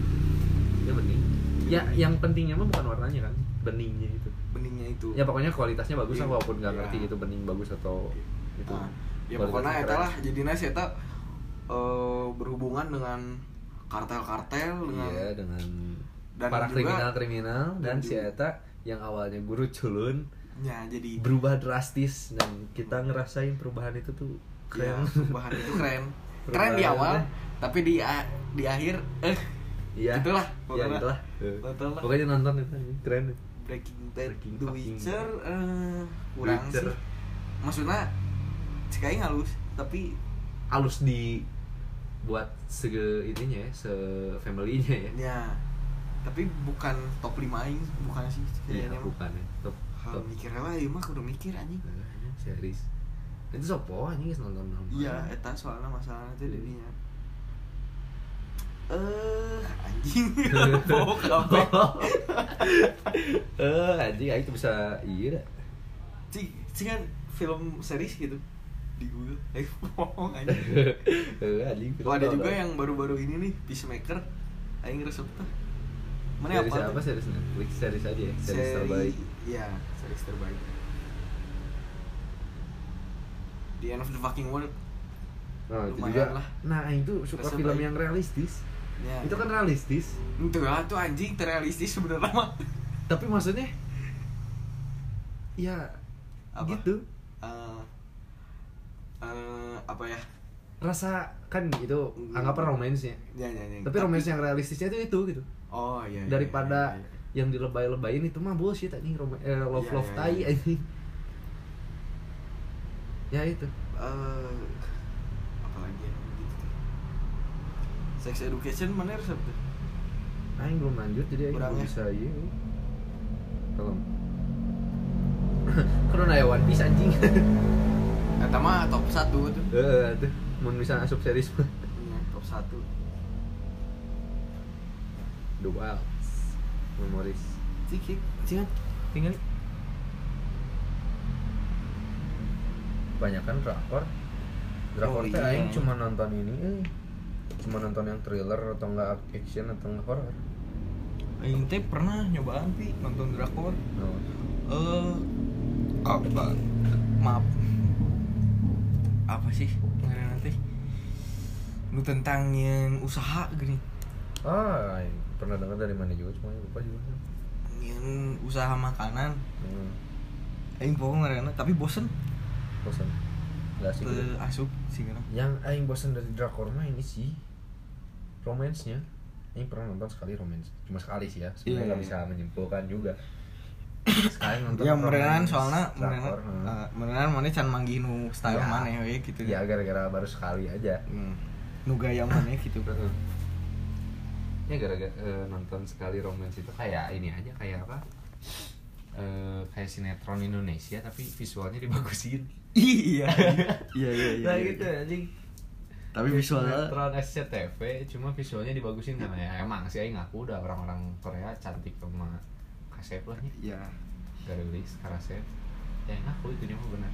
Speaker 2: dia bening ya yang pentingnya mah bukan warnanya kan beningnya itu
Speaker 1: beningnya itu Nah,
Speaker 2: ya pokoknya kualitasnya bagus lah
Speaker 1: Iya.
Speaker 2: walaupun nggak
Speaker 1: Iya.
Speaker 2: ngerti itu bening bagus atau itu
Speaker 1: Nah, ya
Speaker 2: Kualitasnya
Speaker 1: pokoknya eta
Speaker 2: keren.
Speaker 1: lah jadinya si eta eh, berhubungan dengan kartel-kartel dengan
Speaker 2: iya dengan
Speaker 1: dan
Speaker 2: para
Speaker 1: juga-
Speaker 2: kriminal kriminal dan
Speaker 1: dan
Speaker 2: si
Speaker 1: juga-
Speaker 2: Eta yang awalnya guru culun
Speaker 1: ya jadi
Speaker 2: berubah drastis dan kita ngerasain perubahan itu tuh keren
Speaker 1: ya, perubahan itu keren keren di
Speaker 2: Perubahan.
Speaker 1: awal tapi di a- di akhir eh
Speaker 2: iya
Speaker 1: gitulah
Speaker 2: iya
Speaker 1: pokoknya.
Speaker 2: gitulah
Speaker 1: Betul lah.
Speaker 2: pokoknya nonton itu keren
Speaker 1: Breaking Bad
Speaker 2: Breaking
Speaker 1: The
Speaker 2: fucking
Speaker 1: Witcher
Speaker 2: Bad.
Speaker 1: eh, kurang
Speaker 2: Witcher.
Speaker 1: sih maksudnya sekali ngalus tapi
Speaker 2: halus di buat sege ininya ya se familynya ya
Speaker 1: ya tapi bukan top 5 aing bukan sih
Speaker 2: iya
Speaker 1: kayaknya mah.
Speaker 2: bukan ya top
Speaker 1: Hal
Speaker 2: top
Speaker 1: mikir lah ieu mah kudu mikir anjing
Speaker 2: Nah, series itu sopo anjing geus nonton nonton
Speaker 1: iya eta soalnya masalahnya teh dirinya eh anjing Bau kabeh.
Speaker 2: eh anjing aing tuh bisa iya dah.
Speaker 1: Cing, cing kan film series gitu di Google. Eh, bohong aja.
Speaker 2: eh anjing
Speaker 1: Oh, ada
Speaker 2: tau,
Speaker 1: juga
Speaker 2: tau.
Speaker 1: yang baru-baru ini nih, Peacemaker. Aing resep tuh. Mana
Speaker 2: series
Speaker 1: apa?
Speaker 2: apa
Speaker 1: tuh?
Speaker 2: series Netflix series aja ya series
Speaker 1: Seri-
Speaker 2: terbaik
Speaker 1: Iya, series terbaik. The End of the Fucking World.
Speaker 2: nah itu
Speaker 1: Lumayan
Speaker 2: juga
Speaker 1: lah.
Speaker 2: nah aing tuh suka
Speaker 1: Terus
Speaker 2: film
Speaker 1: terbaik.
Speaker 2: yang realistis
Speaker 1: Ya.
Speaker 2: itu kan realistis
Speaker 1: Itu lah tuh anjing terrealistis sebenarnya mah.
Speaker 2: tapi maksudnya ya
Speaker 1: Apa?
Speaker 2: gitu
Speaker 1: Eh, eh, apa ya?
Speaker 2: rasa kan itu
Speaker 1: Hmm.
Speaker 2: anggapan romansnya
Speaker 1: Ya, ya, ya.
Speaker 2: tapi romans yang realistisnya itu itu gitu
Speaker 1: Oh, iya. iya,
Speaker 2: daripada
Speaker 1: iya, iya.
Speaker 2: yang dilebay-lebayin itu mah bullshit anjing rom- eh, love
Speaker 1: Iya,
Speaker 2: love
Speaker 1: iya,
Speaker 2: tai
Speaker 1: iya.
Speaker 2: anjing ya itu
Speaker 1: eh apalagi ya gitu tuh. sex education mana resep tuh
Speaker 2: aing belum lanjut jadi aing
Speaker 1: Kurang
Speaker 2: belum
Speaker 1: ya?
Speaker 2: bisa iya tolong karena ya one piece anjing
Speaker 1: kata mah Eh, top satu tuh
Speaker 2: eh tuh mau bisa asup series mah
Speaker 1: Iya, top satu
Speaker 2: the wild memories
Speaker 1: sikit
Speaker 2: Jangan tinggal Kebanyakan drakor Drakor
Speaker 1: Oh,
Speaker 2: teh
Speaker 1: iya.
Speaker 2: aing cuma nonton ini eh. Cuma nonton yang thriller atau enggak action atau enggak horror
Speaker 1: Aing teh Eh, pernah nyobaan pi nonton drakor
Speaker 2: no.
Speaker 1: eh apa maaf apa sih ngaranna teh nu tentang yang usaha gini
Speaker 2: Ah, aing pernah dengar dari mana juga cuma aing lupa juga
Speaker 1: yang usaha makanan Eh,
Speaker 2: hmm.
Speaker 1: aing pokoknya ngaranna tapi bosen
Speaker 2: Bosan Gak asik gitu.
Speaker 1: teu asup sih kan
Speaker 2: Yang aing bosan dari drakor mah ini sih Romance-nya Aing pernah nonton sekali romance Cuma sekali sih ya
Speaker 1: Iya,
Speaker 2: Sebenarnya nggak
Speaker 1: iya.
Speaker 2: bisa menyimpulkan juga Sekali nonton
Speaker 1: Ya merenan
Speaker 2: romance
Speaker 1: soalnya merenan
Speaker 2: drakor, hmm.
Speaker 1: eh, merenan mana can manggih nu style
Speaker 2: Ya.
Speaker 1: mana we gitu.
Speaker 2: Ya gara-gara baru sekali aja.
Speaker 1: Hmm. Nu gaya mana gitu.
Speaker 2: Ya gara-gara eh, nonton sekali romance itu kayak ini aja kayak apa? Eh, kayak sinetron Indonesia tapi visualnya dibagusin.
Speaker 1: iya. Iya iya iya.
Speaker 2: Nah
Speaker 1: iya.
Speaker 2: gitu anjing.
Speaker 1: Tapi
Speaker 2: Kayak
Speaker 1: visualnya
Speaker 2: sinetron SCTV cuma visualnya dibagusin karena ya emang sih aing ngaku udah orang-orang Korea cantik sama kasep lah nih.
Speaker 1: ya
Speaker 2: Garelis, Karasep. Ya aing ngaku itu mah benar.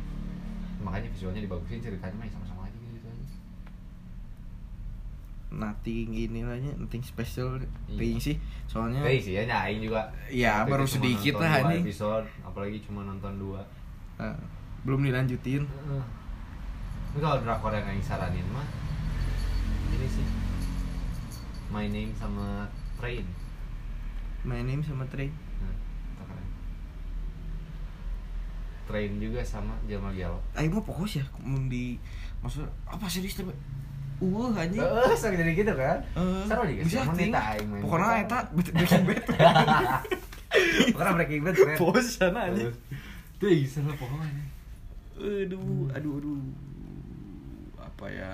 Speaker 2: Makanya visualnya dibagusin ceritanya mah ya sama-sama aja gitu aja.
Speaker 1: nothing ini lah nya, nothing special
Speaker 2: Iya. Eh,
Speaker 1: ting sih. Soalnya
Speaker 2: Tapi sih ya aing juga
Speaker 1: ya
Speaker 2: Waktu
Speaker 1: baru
Speaker 2: itu cuma
Speaker 1: sedikit
Speaker 2: nonton
Speaker 1: lah
Speaker 2: dua
Speaker 1: ini.
Speaker 2: episode, apalagi cuma nonton dua.
Speaker 1: Eh, belum dilanjutin.
Speaker 2: Ini kalau drakor yang aing saranin mah ini sih. My Name sama Train.
Speaker 1: My name sama Trey.
Speaker 2: Nah, itu Hmm, keren. Train juga sama Jamal Gelo.
Speaker 1: Ayo mau fokus ya mun di maksud apa serius tapi Uh, anjing.
Speaker 2: sakit Eh, jadi gitu kan?
Speaker 1: Eh,
Speaker 2: Seru juga sih,
Speaker 1: bisa,
Speaker 2: emang
Speaker 1: ting.
Speaker 2: eta aing main.
Speaker 1: Pokoknya eta breaking bad.
Speaker 2: Karena Breaking Bad keren.
Speaker 1: Bosan anjing.
Speaker 2: Tuh, iya, seru pokoknya.
Speaker 1: aduh aduh aduh apa ya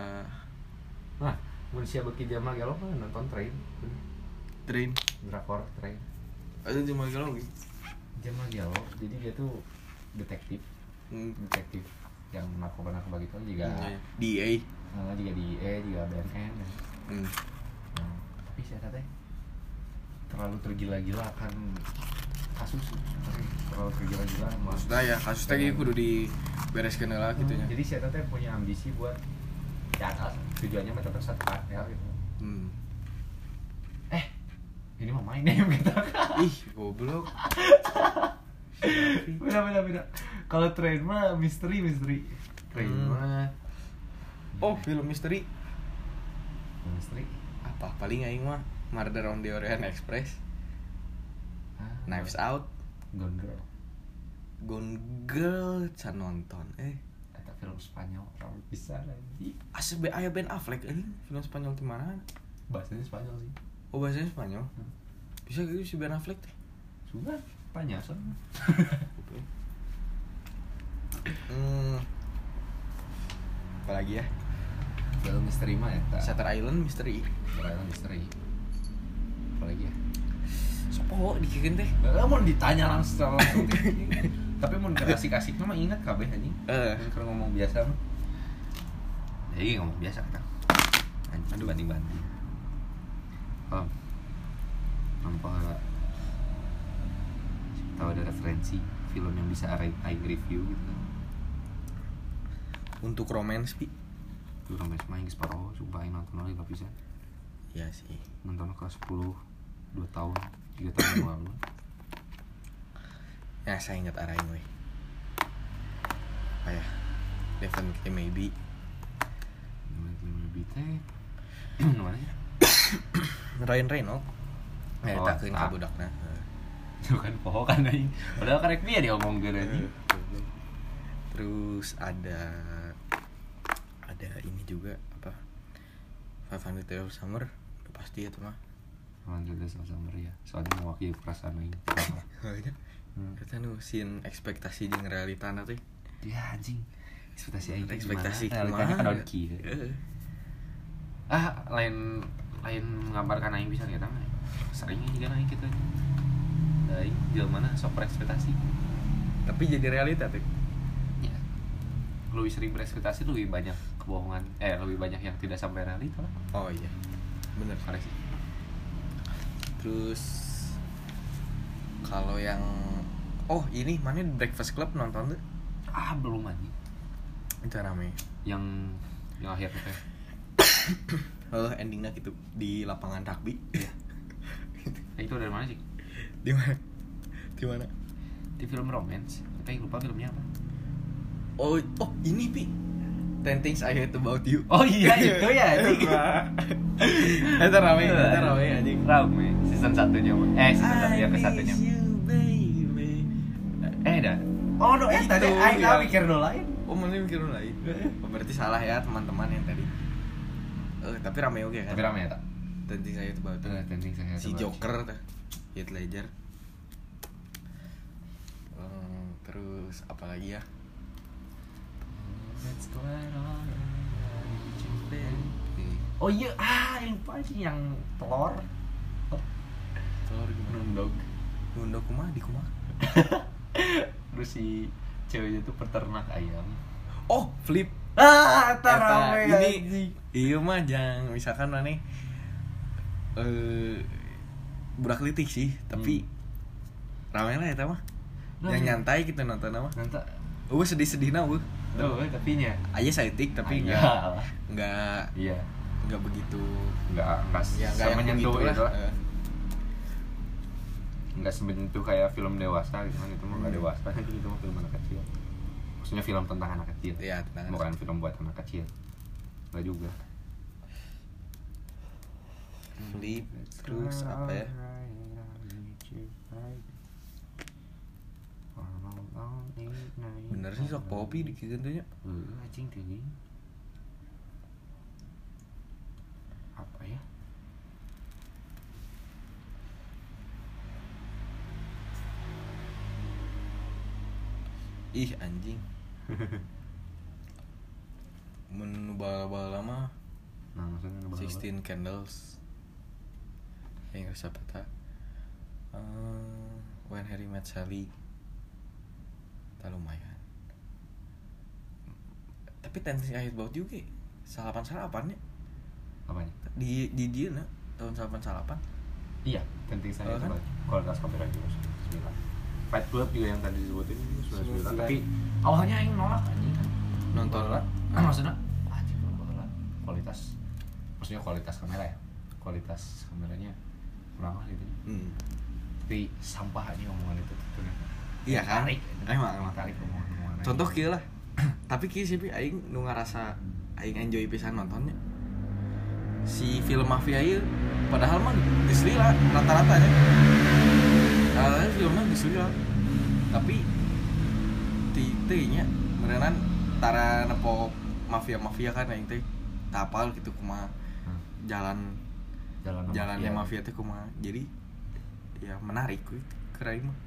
Speaker 2: Nah, manusia beki Jamal Gelo mah nonton Train.
Speaker 1: train
Speaker 2: Drakor Train.
Speaker 1: ada cuma kalau gitu
Speaker 2: Jamal Gelo, jadi dia tuh detektif detektif yang narkoba narkoba gitu juga
Speaker 1: Hmm, Iya. DA
Speaker 2: eh, juga di E juga BNN dan
Speaker 1: hmm.
Speaker 2: nah, tapi saya kata terlalu tergila-gila akan kasus tapi terlalu tergila-gila sama-
Speaker 1: ya, maksudnya ya kasusnya kayak kudu dibereskan lah gitu
Speaker 2: Hmm,
Speaker 1: ya
Speaker 2: jadi saya teh punya ambisi buat ke atas tujuannya mah tetap satu kartel gitu
Speaker 1: Hmm.
Speaker 2: eh ini mah main deh gitu
Speaker 1: Ih, goblok.
Speaker 2: beda beda beda kalau train mah misteri misteri train
Speaker 1: Hmm.
Speaker 2: mah
Speaker 1: Oh, film misteri.
Speaker 2: misteri
Speaker 1: Apa? Paling aing mah Murder on the Orient Express,
Speaker 2: Ah,
Speaker 1: Knives Out,
Speaker 2: Gone Girl
Speaker 1: Gone Girl can nonton. Eh,
Speaker 2: Eta film Spanyol terlalu bisa lagi
Speaker 1: asli aya Ben Affleck anjing, film Spanyol di mana?
Speaker 2: bahasanya Spanyol sih Hmm.
Speaker 1: Oh, bahasanya Spanyol. Bisa gitu si Ben Affleck teh.
Speaker 2: sudah Spanyol soalnya.
Speaker 1: Oke. Hmm. Apalagi ya?
Speaker 2: film misteri mah Eta
Speaker 1: Shutter Island misteri.
Speaker 2: Trail misteri apalagi ya
Speaker 1: Sopo dikeun teh?
Speaker 2: Lah mau ditanya langsung secara langsung teh. Tapi mau kasih kasih mah inget kabeh anjing.
Speaker 1: Eh.
Speaker 2: Mun keur ngomong biasa mah. Jadi ngomong biasa kita. Anjing aduh banding banding. Paham? Tanpa tahu ada referensi film yang bisa aing aing review gitu kan.
Speaker 1: Untuk romance pi.
Speaker 2: Itu romance mah geus paroho, sumpah aing nonton lagi bisa.
Speaker 1: Ya sih.
Speaker 2: Nonton kelas 10 2 tahun, 3 tahun yang lalu.
Speaker 1: Ya saya ingat arahin weh. Ayah. Definitely maybe.
Speaker 2: Namanya lebih teh. Namanya ya?
Speaker 1: Ryan Reynolds. Ya,
Speaker 2: Oh,
Speaker 1: tak
Speaker 2: tak.
Speaker 1: ka budakna. Heeh.
Speaker 2: itu kan poho kan aing padahal karek dia diomong gitu anjing
Speaker 1: Iya. Terus ada ada ini juga apa? 500 Days of Summer Udah pasti itu mah.
Speaker 2: lanjut deh sama sama ya soalnya mewakili perasaan aing
Speaker 1: Kayaknya
Speaker 2: Hmm.
Speaker 1: kita nu sin ekspektasi jeung realita teh.
Speaker 2: ya anjing ekspektasi Eh, aing
Speaker 1: Ekspektasi Eh,
Speaker 2: kumaha
Speaker 1: kumaha.
Speaker 2: realitanya kieu
Speaker 1: Heeh.
Speaker 2: kan ah lain lain menggambarkan aing bisa kita mah sering juga aing gitu aja aing jauh mana sok berekspektasi
Speaker 1: Tapi jadi realita teh.
Speaker 2: ya lebih sering berekspektasi lebih banyak kebohongan eh lebih banyak yang tidak sampai realita lah
Speaker 1: Oh iya. Bener.
Speaker 2: Karek sih
Speaker 1: Terus kalau yang oh ini mana Breakfast Club nonton tuh?
Speaker 2: ah belum anjing
Speaker 1: Itu rame.
Speaker 2: yang yang akhirnya teh
Speaker 1: Oh, endingnya gitu di lapangan rugby.
Speaker 2: nah, itu dari mana sih
Speaker 1: di mana? Di mana?
Speaker 2: di film romance tapi lupa filmnya apa
Speaker 1: Oh, oh ini Pi. Ten things I hate about you.
Speaker 2: oh iya itu ya anjing Eh, Iya,
Speaker 1: Itu rame, itu rame anjing.
Speaker 2: rame season satunya mah. eh season satu
Speaker 1: I
Speaker 2: yang ke satunya
Speaker 1: miss you, baby.
Speaker 2: eh dah oh no eh tadi
Speaker 1: Itu,
Speaker 2: aing
Speaker 1: ya.
Speaker 2: nggak mikir dulu lain
Speaker 1: Oh, mana mikir lain? Oh, berarti salah ya teman-teman yang tadi. Eh, tapi rame oke kan?
Speaker 2: tapi rame ya tak
Speaker 1: Ten things I hate about you.
Speaker 2: trending saya
Speaker 1: si Joker tuh Heath Ledger Hmm, terus apa lagi ya
Speaker 2: oh iya ah yang lupa sih yang telur Oh,
Speaker 1: telur gimana
Speaker 2: nunduk
Speaker 1: Nunda kumah di kumah
Speaker 2: terus si ceweknya tuh peternak ayam
Speaker 1: oh flip
Speaker 2: ah tak
Speaker 1: Eta,
Speaker 2: rame
Speaker 1: ini
Speaker 2: anjing.
Speaker 1: iya mah jang misalkan mana eh budak litik sih tapi ramai lah ya mah
Speaker 2: Hmm. Nah,
Speaker 1: yang nyantai gitu nonton mah
Speaker 2: nanti
Speaker 1: gue sedih sedih nah gue
Speaker 2: tuh tapi nya
Speaker 1: aja saya tik tapi
Speaker 2: Iya
Speaker 1: nggak
Speaker 2: lah.
Speaker 1: nggak
Speaker 2: iya
Speaker 1: nggak begitu
Speaker 2: nggak nggak
Speaker 1: ya nggak yang
Speaker 2: menyentuh
Speaker 1: begitu
Speaker 2: itu lah
Speaker 1: Eh.
Speaker 2: nggak semenyentuh kayak film dewasa gitu kan itu mah
Speaker 1: Hmm.
Speaker 2: nggak dewasa itu mah film anak kecil maksudnya film tentang anak kecil
Speaker 1: Iya, tentang anak
Speaker 2: bukan film buat anak kecil nggak juga
Speaker 1: Flip, terus
Speaker 2: Nah,
Speaker 1: apa ya? Bener sih sok popi di gitu tuh ya.
Speaker 2: Eh, anjing tinggi apa ya
Speaker 1: Ih anjing. Menu bala-bala mah
Speaker 2: nah maksudnya ngebahas apa?
Speaker 1: 16 Candles. Yang resep peta. Eh, when Harry Met Sally. Tak lumayan. Tapi tensi akhir baut juga. Salapan salapan ya.
Speaker 2: apanya
Speaker 1: Di di dia nah tahun salapan salapan.
Speaker 2: Iya, penting saya
Speaker 1: Oh, kan?
Speaker 2: coba kualitas kamera juga sembilan. Fight Club juga yang tadi disebutin juga sudah sembilan. Tapi awalnya yang nolak anjing kan.
Speaker 1: Nonton lah.
Speaker 2: Maksudnya, anjing nolak.
Speaker 3: kualitas maksudnya kualitas kamera ya kualitas kameranya kurang lah gitu
Speaker 1: Hmm.
Speaker 3: tapi sampah aja omongan itu tuh ternyata.
Speaker 1: Iya kan?
Speaker 3: tarik
Speaker 1: Emang, emang.
Speaker 3: tarik omongan-omongan
Speaker 2: Nah,
Speaker 3: aja.
Speaker 2: iya.
Speaker 1: contoh kieu lah tapi kieu sih Pi, aing nu ngarasa aing enjoy pisan nontonnya si film mafia ieu padahal mah geus lila rata-rata ya. nya rata filmnya geus lila tapi ti teh nya meureunan tara nepo mafia-mafia kan aing teh tapal gitu kumaha
Speaker 2: Hmm.
Speaker 1: jalan
Speaker 3: jalan
Speaker 1: jalannya mafia teh kumaha jadi ya menarik kuy keren mah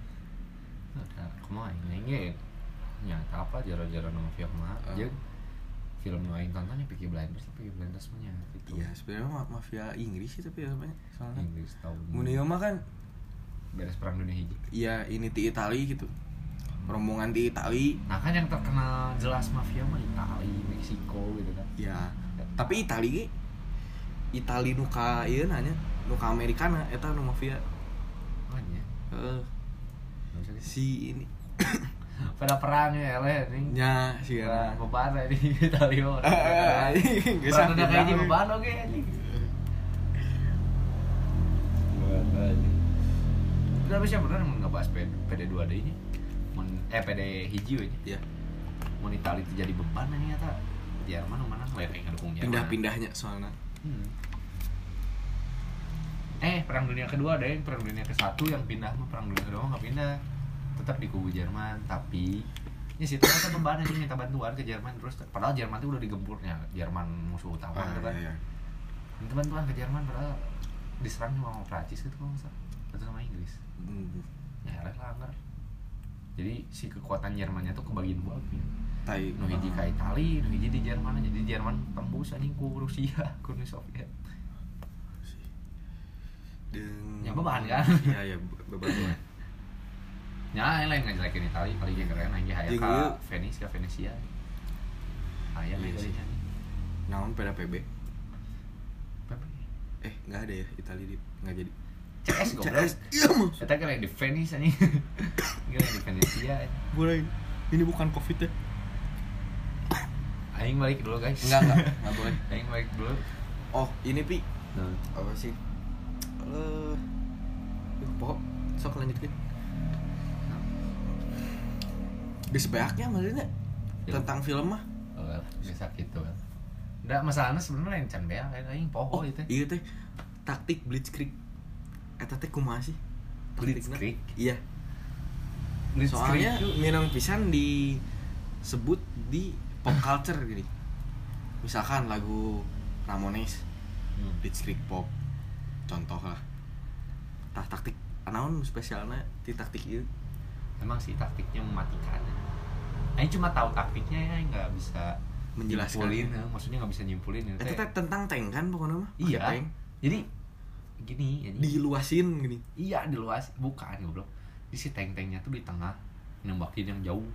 Speaker 2: Nah, kumaha aing aing nya tah apa jaro-jaro nu film mah
Speaker 1: Ah.
Speaker 2: jeung film nu aing tonton nya Peaky Blinders Peaky Blinders mah nya gitu.
Speaker 1: iya sebenarnya ma- mafia Inggris sih tapi ya sebenarnya soalnya
Speaker 2: Inggris tahun
Speaker 1: Mun ieu mah kan
Speaker 2: beres perang dunia hiji.
Speaker 1: ya ini di Itali gitu rombongan di Itali
Speaker 2: Nah kan yang terkenal jelas mafia mah Itali, Meksiko gitu kan.
Speaker 1: ya tapi Itali ge Itali nuka iya nanya nuka Amerikana eta nu mafia
Speaker 2: Makanya
Speaker 1: Heeh.
Speaker 2: ya? nggak bisa dis-
Speaker 1: si ini
Speaker 2: pada perang ya leh nih.
Speaker 1: nya si
Speaker 2: Perang
Speaker 1: Ana.
Speaker 2: beban ya di Itali mah.
Speaker 1: Ah, geus
Speaker 2: Perang
Speaker 1: sakit
Speaker 2: dunia kayak di
Speaker 1: banget.
Speaker 2: beban oke anjing. Kenapa sih benar emang nggak bahas PD 2 d nya? Mun- Eh PD hiji we nya.
Speaker 1: ya
Speaker 2: mun Itali itu jadi beban ini kata Jerman mana lereng ngedukung Jerman
Speaker 1: pindah-pindahnya soalnya
Speaker 2: Hmm. eh perang dunia kedua ada yang perang dunia ke satu yang pindah mah perang dunia kedua mah nggak pindah tetap di kubu Jerman tapi ya sih ternyata beban aja minta bantuan ke Jerman terus padahal Jerman tuh udah digempurnya Jerman musuh utama
Speaker 1: Ah,
Speaker 2: gitu kan
Speaker 1: iya, iya.
Speaker 2: minta bantuan ke Jerman padahal diserang sama Prancis gitu kalau nggak salah atau sama Inggris
Speaker 1: Hmm,
Speaker 2: ya eleh lah anggar. jadi si kekuatan Jermannya tuh kebagian dua gitu.
Speaker 1: tai ah,
Speaker 2: nu hiji ka Itali, nu hiji di Jerman aja. Di Jerman tembus anjing ku Rusia, ku Uni Soviet.
Speaker 1: Deng-
Speaker 2: Ya, beban kan?
Speaker 1: iya iya be- beban
Speaker 2: Nya Ya, lain lain ngajelekin Itali, kali ge keren aja hayang
Speaker 1: Jeung
Speaker 2: ka
Speaker 1: ieu-
Speaker 2: Venice, ka Venesia. Hayang
Speaker 1: Iya
Speaker 2: aja
Speaker 1: sih.
Speaker 2: sih.
Speaker 1: naon peda PB eh nggak ada ya Itali di nggak jadi
Speaker 2: CS goblok.
Speaker 1: CS iya mah
Speaker 2: Kita keren di Venice anjing. Keren di Venesia. eh.
Speaker 1: boleh ini bukan covid ya
Speaker 2: Aing balik dulu guys.
Speaker 1: Enggak, enggak, enggak boleh.
Speaker 2: Aing balik dulu.
Speaker 1: oh ini pi
Speaker 2: Nah,
Speaker 1: apa sih eh uh, pokok sok lanjutkan bisa banyaknya maksudnya
Speaker 2: Film.
Speaker 1: tentang film mah
Speaker 2: Oh, well, bisa gitu. Enggak masalahnya sebenarnya lain can bea kan? aing aing poho
Speaker 1: oh,
Speaker 2: itu.
Speaker 1: iya teh taktik blitzkrieg eta teh kumaha sih Taktikna.
Speaker 2: Blitzkrieg?
Speaker 1: iya soalnya minang pisan disebut di pop culture gini misalkan lagu Ramones
Speaker 2: Hmm.
Speaker 1: blitzkrieg pop contoh lah tah taktik anaun spesialnya di taktik itu
Speaker 2: emang sih taktiknya mematikan Aing cuma tahu taktiknya ya Aing nggak bisa
Speaker 1: Menjelaskan.
Speaker 2: nyimpulin, eh, maksudnya nggak bisa nyimpulin ya
Speaker 1: Eta teh
Speaker 2: Teh,
Speaker 1: tentang tank kan pokoknya mah Pakai
Speaker 2: iya
Speaker 1: tank.
Speaker 2: jadi gini ya
Speaker 1: diluasin gini
Speaker 2: iya di luas bukan goblok di si tank-tanknya tuh di tengah nembakin yang jauh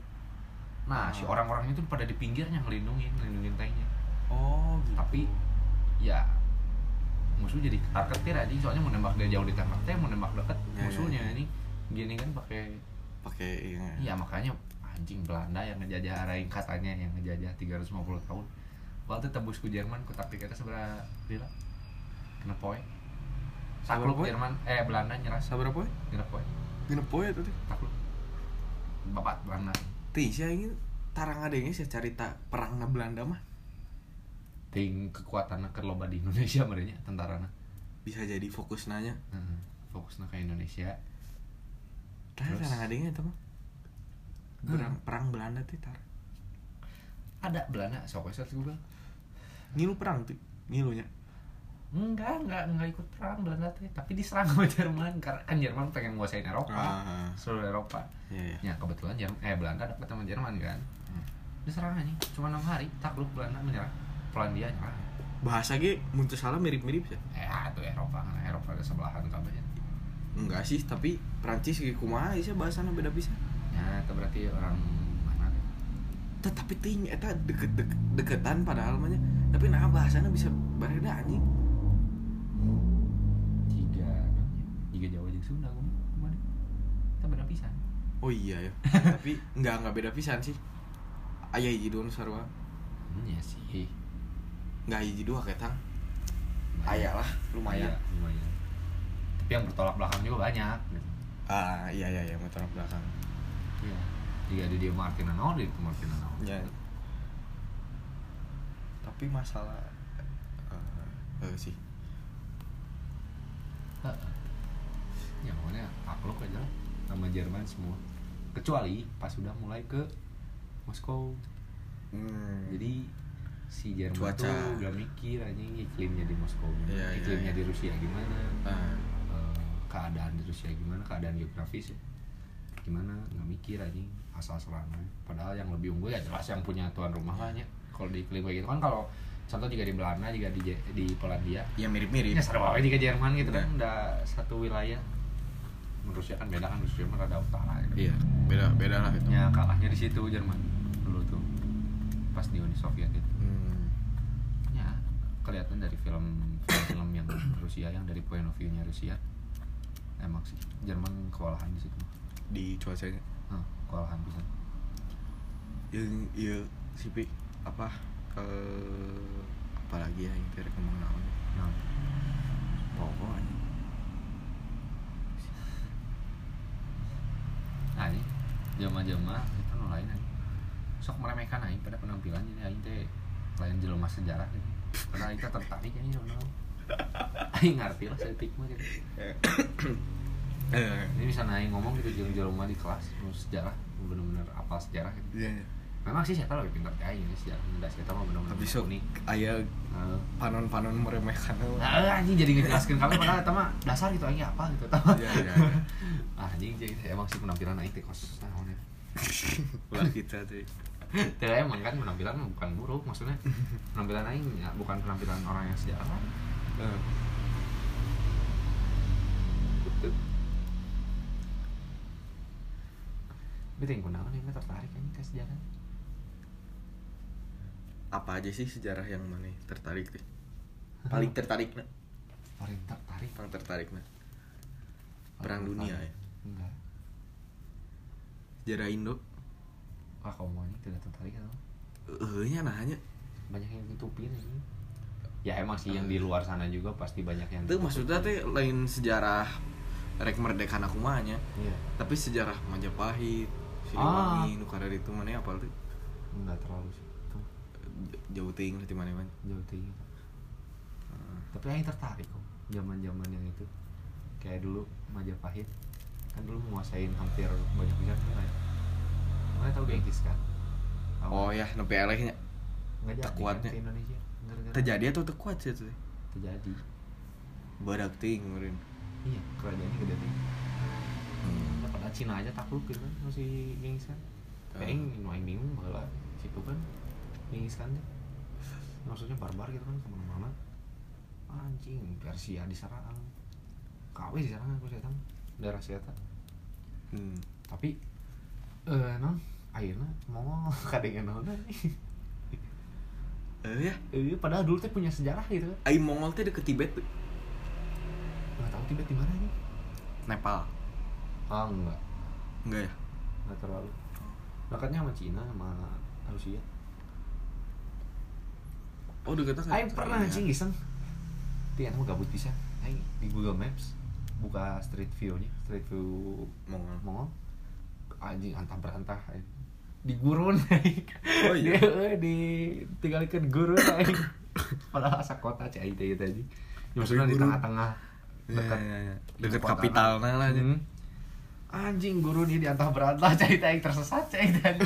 Speaker 2: nah si
Speaker 1: Oh.
Speaker 2: orang-orangnya tuh pada di pinggirnya ngelindungin ngelindungin tanknya
Speaker 1: oh gitu
Speaker 2: tapi ya musuh jadi ketar ketir aja soalnya mau nembak dari jauh di tengah teh mau nembak deket
Speaker 1: Ya, ya,
Speaker 2: musuhnya
Speaker 1: ya.
Speaker 2: ini gini kan pakai
Speaker 1: pakai yang
Speaker 2: Iya makanya anjing Belanda yang ngejajah Raing katanya yang ngejajah 350 tahun. Waktu tembus ke Jerman ku taktik eta seberapa lila? Kena poe. Takluk
Speaker 1: poe?
Speaker 2: Jerman eh Belanda nyerah
Speaker 1: sabar apa ya?
Speaker 2: kena poe.
Speaker 1: gini poe itu teh
Speaker 2: Takluk. Babat Belanda.
Speaker 1: teh sih ini tarang adanya sih cerita perang na Belanda mah
Speaker 2: Ting kekuatannya ke loba di Indonesia merenya tentarana.
Speaker 1: bisa jadi fokus nanya
Speaker 2: Heeh. Fokusnya ke Indonesia.
Speaker 1: tah
Speaker 2: Terus?
Speaker 1: tarang adanya itu mah perang perang Belanda teh tar
Speaker 2: Ada Belanda sok wes Google.
Speaker 1: ngilu perang tuh ngilunya
Speaker 2: Enggak, enggak, enggak ikut perang Belanda teh, tapi diserang sama Jerman karena kan Jerman pengen nguasain Eropa.
Speaker 1: Ah.
Speaker 2: Seluruh Eropa.
Speaker 1: Iya, iya.
Speaker 2: Ya kebetulan Jerman, eh Belanda dekat sama Jerman kan. Diserang aja, cuma enam hari takluk Belanda menyerang. Polandia nyerang.
Speaker 1: bahasa ge muncul salah mirip-mirip ya
Speaker 2: Eh atuh Eropa, nah Eropa ada sebelahan kabehnya.
Speaker 1: enggak sih tapi Prancis ge kumaha sih bahasana beda bisa
Speaker 2: Nah, itu berarti orang mana?
Speaker 1: tetapi ting eta deket deket deketan padahal mah nya. tapi nah bahasana bisa berbeda anjing
Speaker 2: Tiga, tiga Jawa jeung Sunda gue kemana? Kita beda pisan.
Speaker 1: oh iya ya tapi enggak enggak beda pisan sih ayah hiji doang sarua
Speaker 2: Hmm, ya sih.
Speaker 1: nggak hiji dua ketang ayah lah lumayan
Speaker 2: Iya, lumayan tapi yang bertolak belakang juga banyak gitu.
Speaker 1: ah iya iya iya motor belakang
Speaker 2: Iya. Jika ada dia Martin Anor, dia itu Martin Anor.
Speaker 1: ya tapi masalah eh eh, sih
Speaker 2: Heeh.
Speaker 1: Iya.
Speaker 2: Ya pokoknya takluk aja lah sama Jerman semua. Kecuali pas sudah mulai ke Moskow.
Speaker 1: Hmm,
Speaker 2: Jadi si Jerman
Speaker 1: Cuaca.
Speaker 2: tuh udah mikir anjing iklimnya di Moskow,
Speaker 1: Iya,
Speaker 2: gimana,
Speaker 1: iya,
Speaker 2: iklimnya
Speaker 1: iya.
Speaker 2: di Rusia gimana,
Speaker 1: ah,
Speaker 2: eh, keadaan di Rusia gimana, keadaan geografis ya gimana nggak mikir anjing asal-asalan aja. padahal yang lebih unggul ya jelas yang punya tuan rumah lah nya kalau di iklim kayak gitu kan kalau contoh juga di Belanda juga di Je- di Polandia
Speaker 1: ya mirip mirip
Speaker 2: Ya seru banget jika Jerman gitu kan
Speaker 1: Iya.
Speaker 2: udah satu wilayah. Menurut Rusia kan beda kan Rusia Jerman ada utara gitu.
Speaker 1: iya beda beda lah itu
Speaker 2: Ya kalahnya di situ Jerman dulu tuh pas di Uni Soviet itu.
Speaker 1: Hmm,
Speaker 2: Ya kelihatan dari film film yang Rusia yang dari point of view-nya Rusia emang sih Jerman kewalahan di situ.
Speaker 1: di cuacanya
Speaker 2: Nah, kewalahan bisa.
Speaker 1: yang iya sih Pi. apa ke apa lagi ya yang tadi ngomong naon
Speaker 2: Nah,
Speaker 1: pokoknya
Speaker 2: nah ini jama-jama itu nu lain aja. Sok meremehkan aing pada penampilan ini aing teh lain jelema sejarah gitu. Karena aing teh tertarik ini sono. Aing ngerti lah setik mah gitu.
Speaker 1: eh
Speaker 2: Ini misalnya aing ngomong gitu jeung jelema di kelas nu sejarah, nu bener-bener apal sejarah gitu.
Speaker 1: iya
Speaker 2: Memang sih saya lebih pintar kayak aing ini sejarah. Nda saya mah bener-bener
Speaker 1: tapi sok
Speaker 2: unik.
Speaker 1: ayah
Speaker 2: Heeh.
Speaker 1: panon-panon meremehkan
Speaker 2: Ah, anjing jadi ngejelaskan kami padahal eta mah dasar gitu aing apa gitu eta mah.
Speaker 1: Iya, iya, iya.
Speaker 2: Ah, anjing jadi emang sih penampilan aing teh kos naon ya.
Speaker 1: lah kita tuh
Speaker 2: Tidak emang kan penampilan bukan buruk maksudnya penampilan aing ya, bukan penampilan orang yang sejarah
Speaker 1: Eh,
Speaker 2: gitu. Tapi yang kunaon ini tertarik aing ke sejarah.
Speaker 1: apa aja sih sejarah yang mana tertarik deh paling tertarik nah
Speaker 2: Paling tertarik
Speaker 1: paling tertarik nah perang dunia ya
Speaker 2: Enggak.
Speaker 1: sejarah Indo
Speaker 2: Ah, kalau mau ini tidak tertarik atau
Speaker 1: eh nya nah nya
Speaker 2: banyak yang ditutupin ini. Ya emang sih yang di luar sana juga pasti banyak yang.
Speaker 1: itu maksudnya teh lain sejarah rek merdekaan aku mah nya
Speaker 2: Iya.
Speaker 1: tapi sejarah Majapahit Siliwangi nu karek itu mana ya apal tuh
Speaker 2: Enggak terlalu sih. Tuh,
Speaker 1: jauh ting lah di mana mana
Speaker 2: jauh tinggi. Hmm, Tapi aing tertarik kok zaman-zaman yang itu. Kayak dulu Majapahit kan dulu menguasain hampir banyak wilayah kan. ya. Mana tahu Genghis kan? Tahu
Speaker 1: oh ya nepi elehnya
Speaker 2: Nggak jadi
Speaker 1: Terkuatnya.
Speaker 2: kan ke Indonesia Gara-gara
Speaker 1: terjadi atau terkuat sih tuh
Speaker 2: terjadi
Speaker 1: badak ting meureun.
Speaker 2: iya kerajaannya gede nih ya padahal Cina aja takluk gitu kan masih Genghis Khan
Speaker 1: Hmm.
Speaker 2: Aing nu aing bingung bahwa situ kan Genghis Khan tuh maksudnya barbar gitu kan kemana-mana anjing Persia diserang KW diserang aku setan daerah setan
Speaker 1: hmm.
Speaker 2: tapi eh non akhirnya mau kadang naon nih
Speaker 1: eh ya
Speaker 2: Eh, padahal dulu teh punya sejarah gitu kan
Speaker 1: ai Mongol teh deket Tibet tuh
Speaker 2: nggak tahu tiba di mana nih
Speaker 1: Nepal
Speaker 2: ah enggak
Speaker 1: enggak ya
Speaker 2: nggak terlalu dekatnya sama Cina sama Rusia
Speaker 1: oh deket enggak
Speaker 2: Aing pernah anjing iseng tapi anu gabut bisa Aing di Google Maps buka street view nya street view
Speaker 1: Mongol
Speaker 2: Mongol anjing antah berantah aing. di gurun aing.
Speaker 1: Oh, iya.
Speaker 2: Di- eh, di tinggalkan gurun aing. padahal asa kota cai itu itu aja ya, maksudnya di
Speaker 1: gurun.
Speaker 2: tengah-tengah
Speaker 1: dekat
Speaker 2: dekat
Speaker 1: dekat
Speaker 2: kota.
Speaker 1: iya, kapitalnya lah
Speaker 2: Hmm. anjing gurun ini antah berantah cai itu aing tersesat cai itu aja.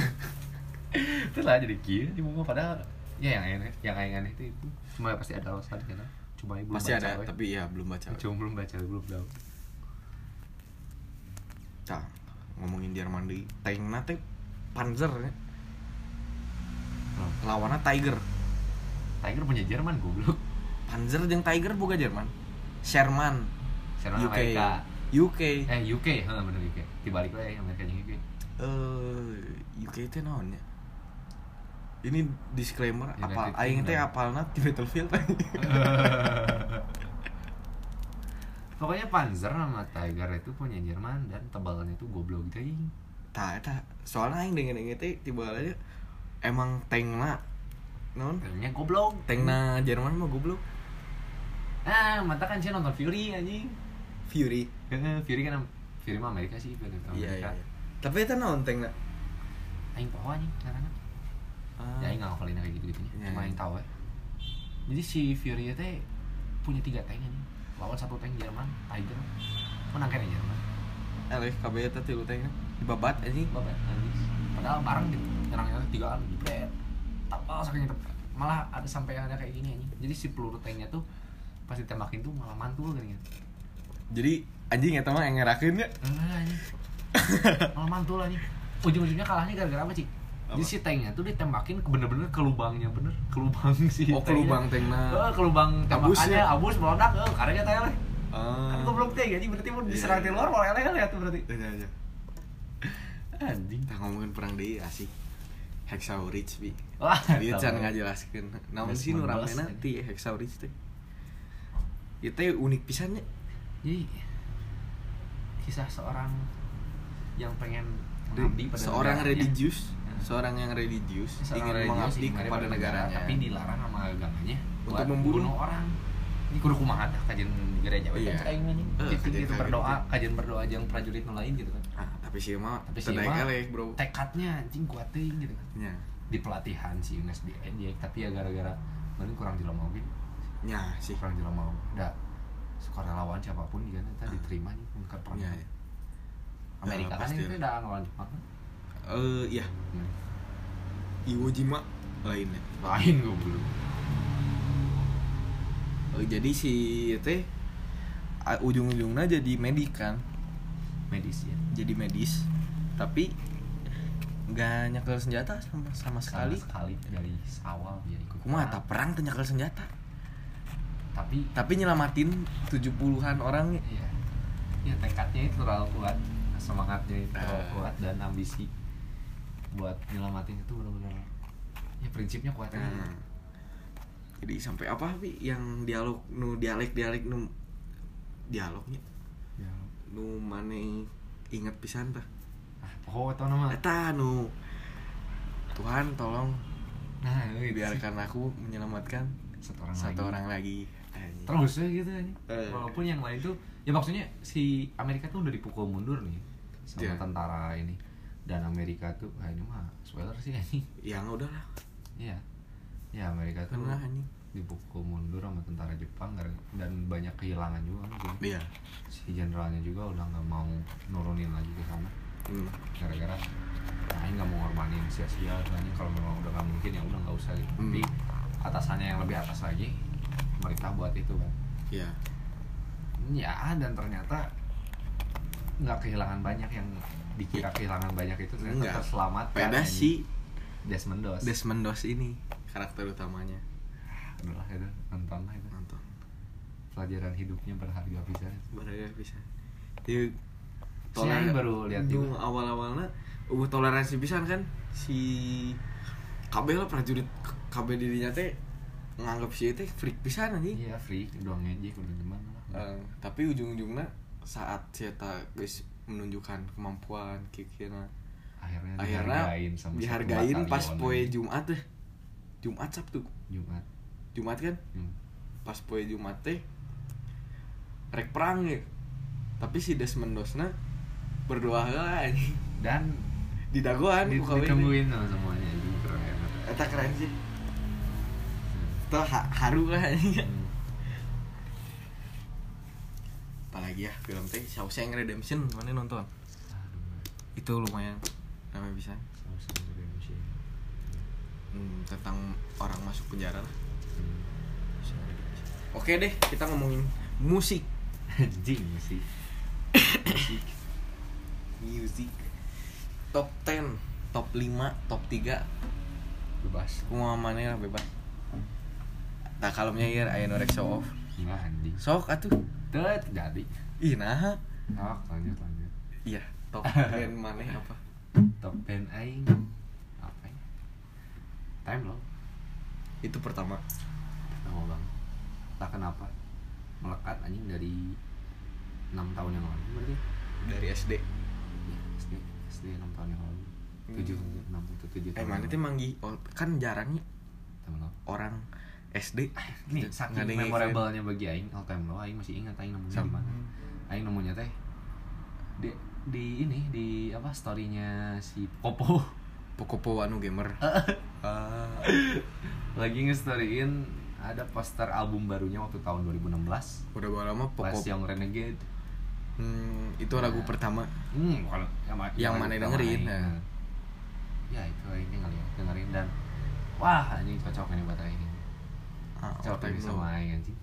Speaker 2: Terus lah jadi kieu di Mongol padahal ya yang aneh yang aing aneh itu itu cuma pasti ada alasan kan cuma ibu
Speaker 1: pasti
Speaker 2: baca,
Speaker 1: ada
Speaker 2: we.
Speaker 1: tapi ya belum baca
Speaker 2: cuma belum baca belum tahu
Speaker 1: Tah, ngomongin Jerman di tanknya teh Panzer ya.
Speaker 2: Hmm.
Speaker 1: lawannya Tiger
Speaker 2: Tiger punya Jerman goblok
Speaker 1: Panzer jeung Tiger bukan Jerman Sherman
Speaker 2: Sherman
Speaker 1: UK
Speaker 2: Amerika
Speaker 1: UK eh
Speaker 2: eh UK heeh bener UK dibalik eh, we Amerika jeung UK
Speaker 1: Eh, UK teh naonnya ini disclaimer
Speaker 2: United
Speaker 1: apa aing teh
Speaker 2: Kingdom.
Speaker 1: apalna di Battlefield
Speaker 2: pokoknya Panzer sama Tiger itu punya Jerman dan tebalnya tuh goblok gitu, teuing
Speaker 1: tak tak soalnya aing dengan inget teh tiba aja emang tanknya non
Speaker 2: filmnya goblok
Speaker 1: tengna Jerman mah goblok
Speaker 2: ah mata kan sih nonton Fury anjing
Speaker 1: Fury
Speaker 2: Eh, Fury kan Fury mah Amerika sih film
Speaker 1: iya iya
Speaker 2: Amerika
Speaker 1: iya. tapi itu non tengna
Speaker 2: aing poho anjing karena ya aing nggak ngafalin kayak gitu gitunya
Speaker 1: Ah. Iya,
Speaker 2: cuma
Speaker 1: iya.
Speaker 2: aing tahu ya jadi si Fury itu punya tiga tank anjing lawan satu tank Jerman Tiger menang kan ya Jerman
Speaker 1: Ah, LFKB itu tilu tengna dibabat anjing
Speaker 2: babat habis padahal bareng gitu nyerangnya tuh tigaan jebret tambah sakitnya tuh malah ada sampai ada kayak gini anjing jadi si peluru tanknya tuh pas ditembakin tuh malah mantul kan gitu
Speaker 1: jadi anjing ya mah yang ngerakin ya
Speaker 2: Enggak anjing malah mantul anjing ujung-ujungnya kalahnya gara-gara apa cik jadi
Speaker 1: Apa?
Speaker 2: si tanknya tuh ditembakin ke bener-bener ke lubangnya bener ke lubang si
Speaker 1: oh
Speaker 2: tanknya.
Speaker 1: ke lubang
Speaker 2: Eh,
Speaker 1: tengna
Speaker 2: ke lubang tembakannya
Speaker 1: Abusnya.
Speaker 2: abus meledak eh karena teh leh kan
Speaker 1: ah
Speaker 2: goblok teh jadi berarti mau
Speaker 1: Iya,
Speaker 2: diserang
Speaker 1: iya.
Speaker 2: di luar malah eleh lihat tuh berarti
Speaker 1: aja aja
Speaker 2: anjing
Speaker 1: kita ngomongin perang deh asik Hexau Ridge bi
Speaker 2: Wah, tahu.
Speaker 1: dia can ngajelaskeun naon sih nu
Speaker 2: Belas
Speaker 1: ramena
Speaker 2: aja.
Speaker 1: ti Hexau Ridge teh ieu teh unik pisannya
Speaker 2: jadi kisah seorang yang pengen mengabdi pada
Speaker 1: seorang
Speaker 2: negaranya.
Speaker 1: religius
Speaker 2: Ya.
Speaker 1: seorang yang religius
Speaker 2: Seorang religius
Speaker 1: ingin mengabdi
Speaker 2: ingin
Speaker 1: kepada
Speaker 2: negara,
Speaker 1: negaranya
Speaker 2: tapi dilarang sama agamanya
Speaker 1: Untuk
Speaker 2: buat
Speaker 1: membunuh.
Speaker 2: orang ini kudu kumaha tah kajian di gereja we
Speaker 1: Iya.
Speaker 2: kan aing mah nih.
Speaker 1: Eh,
Speaker 2: Gitu,
Speaker 1: kajian
Speaker 2: gitu
Speaker 1: kajian
Speaker 2: berdoa kajian berdoa jeung prajurit nu lain gitu kan
Speaker 1: Ah, tapi sih mah
Speaker 2: tapi si
Speaker 1: terdaik
Speaker 2: mah
Speaker 1: elek bro
Speaker 2: tekadnya anjing kuat teuing gitu kan
Speaker 1: nya
Speaker 2: di pelatihan si Unes di NJ tapi ya gara-gara mungkin kurang jelema oge
Speaker 1: nya sih
Speaker 2: kurang jelema oge da sukarelawan siapapun juga nanti diterima nih ke perang
Speaker 1: nya ya.
Speaker 2: Amerika
Speaker 1: Ya,
Speaker 2: kan
Speaker 1: pasti.
Speaker 2: itu udah ngelawan Jepang kan?
Speaker 1: eh iya Iwo Jima lainnya
Speaker 2: lain gue belum
Speaker 1: Eh, jadi si teh a- ujung-ujungnya jadi medik kan
Speaker 2: medis ya
Speaker 1: jadi medis tapi nggak nyekel senjata sama sama sekali
Speaker 2: sekali sekali dari awal dia ikut
Speaker 1: kumaha
Speaker 2: perang,
Speaker 1: tak perang teu nyekel senjata
Speaker 2: tapi
Speaker 1: tapi nyelamatin 70-an orang
Speaker 2: ya ya tekadnya itu terlalu kuat semangatnya itu terlalu
Speaker 1: Ah.
Speaker 2: kuat dan ambisi buat nyelamatin itu benar-benar ya prinsipnya kuat aja.
Speaker 1: Nah, jadi sampai apa Pi? yang dialog nu dialek dialek nu dialognya
Speaker 2: ya.
Speaker 1: nu mane inget pisan tah
Speaker 2: ah poho atau nama
Speaker 1: eta nu Tuhan tolong
Speaker 2: nah itu sih.
Speaker 1: biarkan aku menyelamatkan
Speaker 2: satu orang
Speaker 1: satu
Speaker 2: lagi.
Speaker 1: orang lagi Anjing.
Speaker 2: terus ya gitu aja
Speaker 1: Eh.
Speaker 2: walaupun yang lain tuh ya maksudnya si Amerika tuh udah dipukul mundur nih sama
Speaker 1: Iya.
Speaker 2: tentara ini dan Amerika tuh ah ini mah spoiler sih ini
Speaker 1: ya nggak udah lah
Speaker 2: iya ya Amerika tuh
Speaker 1: pernah anjing
Speaker 2: dipukul mundur sama tentara Jepang gara- dan banyak kehilangan juga kan, gitu.
Speaker 1: iya
Speaker 2: si jenderalnya juga udah nggak mau nurunin lagi ke sana
Speaker 1: Hmm.
Speaker 2: gara-gara nah ini nggak mau ngorbanin sia-sia soalnya kalau memang udah nggak mungkin ya udah nggak usah gitu
Speaker 1: Hmm.
Speaker 2: tapi atasannya yang lebih atas lagi mereka buat itu kan
Speaker 1: iya
Speaker 2: ya dan ternyata nggak kehilangan banyak yang dikira kehilangan banyak itu ternyata
Speaker 1: Nggak.
Speaker 2: terselamatkan
Speaker 1: beda
Speaker 2: anjing.
Speaker 1: si
Speaker 2: Desmond Doss
Speaker 1: Desmond Doss ini karakter utamanya
Speaker 2: Udah lah itu nonton lah itu
Speaker 1: nonton
Speaker 2: pelajaran hidupnya berharga bisa
Speaker 1: berharga bisa dia
Speaker 2: Saya baru lihat
Speaker 1: nu
Speaker 2: juga.
Speaker 1: awal-awalnya uh toleransi pisan kan si kabeh lah prajurit kabeh dirinya teh nganggap si teh freak pisan anjing
Speaker 2: iya free udah ngejek udah gimana lah
Speaker 1: Eh, tapi ujung-ujungnya saat si eta geus menunjukkan kemampuan kikina
Speaker 2: akhirnya,
Speaker 1: akhirnya
Speaker 2: dihargain sama satu
Speaker 1: dihargain
Speaker 2: batalion
Speaker 1: pas
Speaker 2: aja.
Speaker 1: poe Jumat deh Jumat Sabtu
Speaker 2: Jumat
Speaker 1: Jumat kan
Speaker 2: Hmm.
Speaker 1: pas poe Jumat teh rek perang ya tapi si Desmond Dosna berdoa lah anjing
Speaker 2: dan
Speaker 1: di dagoan
Speaker 2: di-
Speaker 1: ku kawin.
Speaker 2: ditungguin sama semuanya itu keren banget.
Speaker 1: Eta keren sih Itu ha- haru lah anjing.
Speaker 2: Hmm.
Speaker 1: Apalagi ya film teh Shawshank Redemption mana nonton
Speaker 2: Aduh,
Speaker 1: Itu lumayan namanya bisa
Speaker 2: Shawshank Redemption.
Speaker 1: hmm, Tentang orang masuk penjara lah
Speaker 2: Hmm.
Speaker 1: Shawshank Redemption. Oke deh kita ngomongin musik
Speaker 2: anjing sih
Speaker 1: Musik Music Top 10 Top 5 Top 3
Speaker 2: bebas
Speaker 1: Kumaha mana lah bebas Tak kalemnya ya Ayo norek show off
Speaker 2: enggak anjing
Speaker 1: Sok atuh
Speaker 2: Tuh, jadi
Speaker 1: Ih nah
Speaker 2: Nah, lanjut lanjut.
Speaker 1: Iya Top 10 mana apa
Speaker 2: Top band aing apa ya? Time loh.
Speaker 1: Itu pertama
Speaker 2: Lama banget. Tak kenapa melekat anjing dari 6 tahun yang lalu berarti.
Speaker 1: dari SD
Speaker 2: Ya, SD SD 6 tahun yang lalu. 7 6
Speaker 1: Hmm.
Speaker 2: atau 7 tahun.
Speaker 1: eh mana
Speaker 2: yang
Speaker 1: teh
Speaker 2: lalu.
Speaker 1: manggi oh, kan jarangnya
Speaker 2: temen lo
Speaker 1: orang SD
Speaker 2: Nih,
Speaker 1: Gitu,
Speaker 2: saking
Speaker 1: nggak ada yang
Speaker 2: memorable-nya bagi Aing, all time low, Aing masih ingat Aing nemunya
Speaker 1: Sama.
Speaker 2: di mana. Aing nemunya teh di, di ini di apa story-nya si Popo
Speaker 1: ngefans. Pokopo anu gamer Ah,
Speaker 2: lagi nge-storyin ada poster album barunya waktu tahun 2016
Speaker 1: udah berapa lama
Speaker 2: Last
Speaker 1: Pokopo
Speaker 2: Young Renegade
Speaker 1: Hmm, itu lagu
Speaker 2: Nah.
Speaker 1: pertama
Speaker 2: hmm, kalau yang,
Speaker 1: Yang mana
Speaker 2: pertama
Speaker 1: dengerin,
Speaker 2: Aing.
Speaker 1: nah.
Speaker 2: ya itu Aing dengerin, dengerin dan wah anjing cocok ini buat
Speaker 1: Oh,
Speaker 2: Aing
Speaker 1: ah, all
Speaker 2: cocok
Speaker 1: time
Speaker 2: ini
Speaker 1: low.
Speaker 2: sama Aing anjing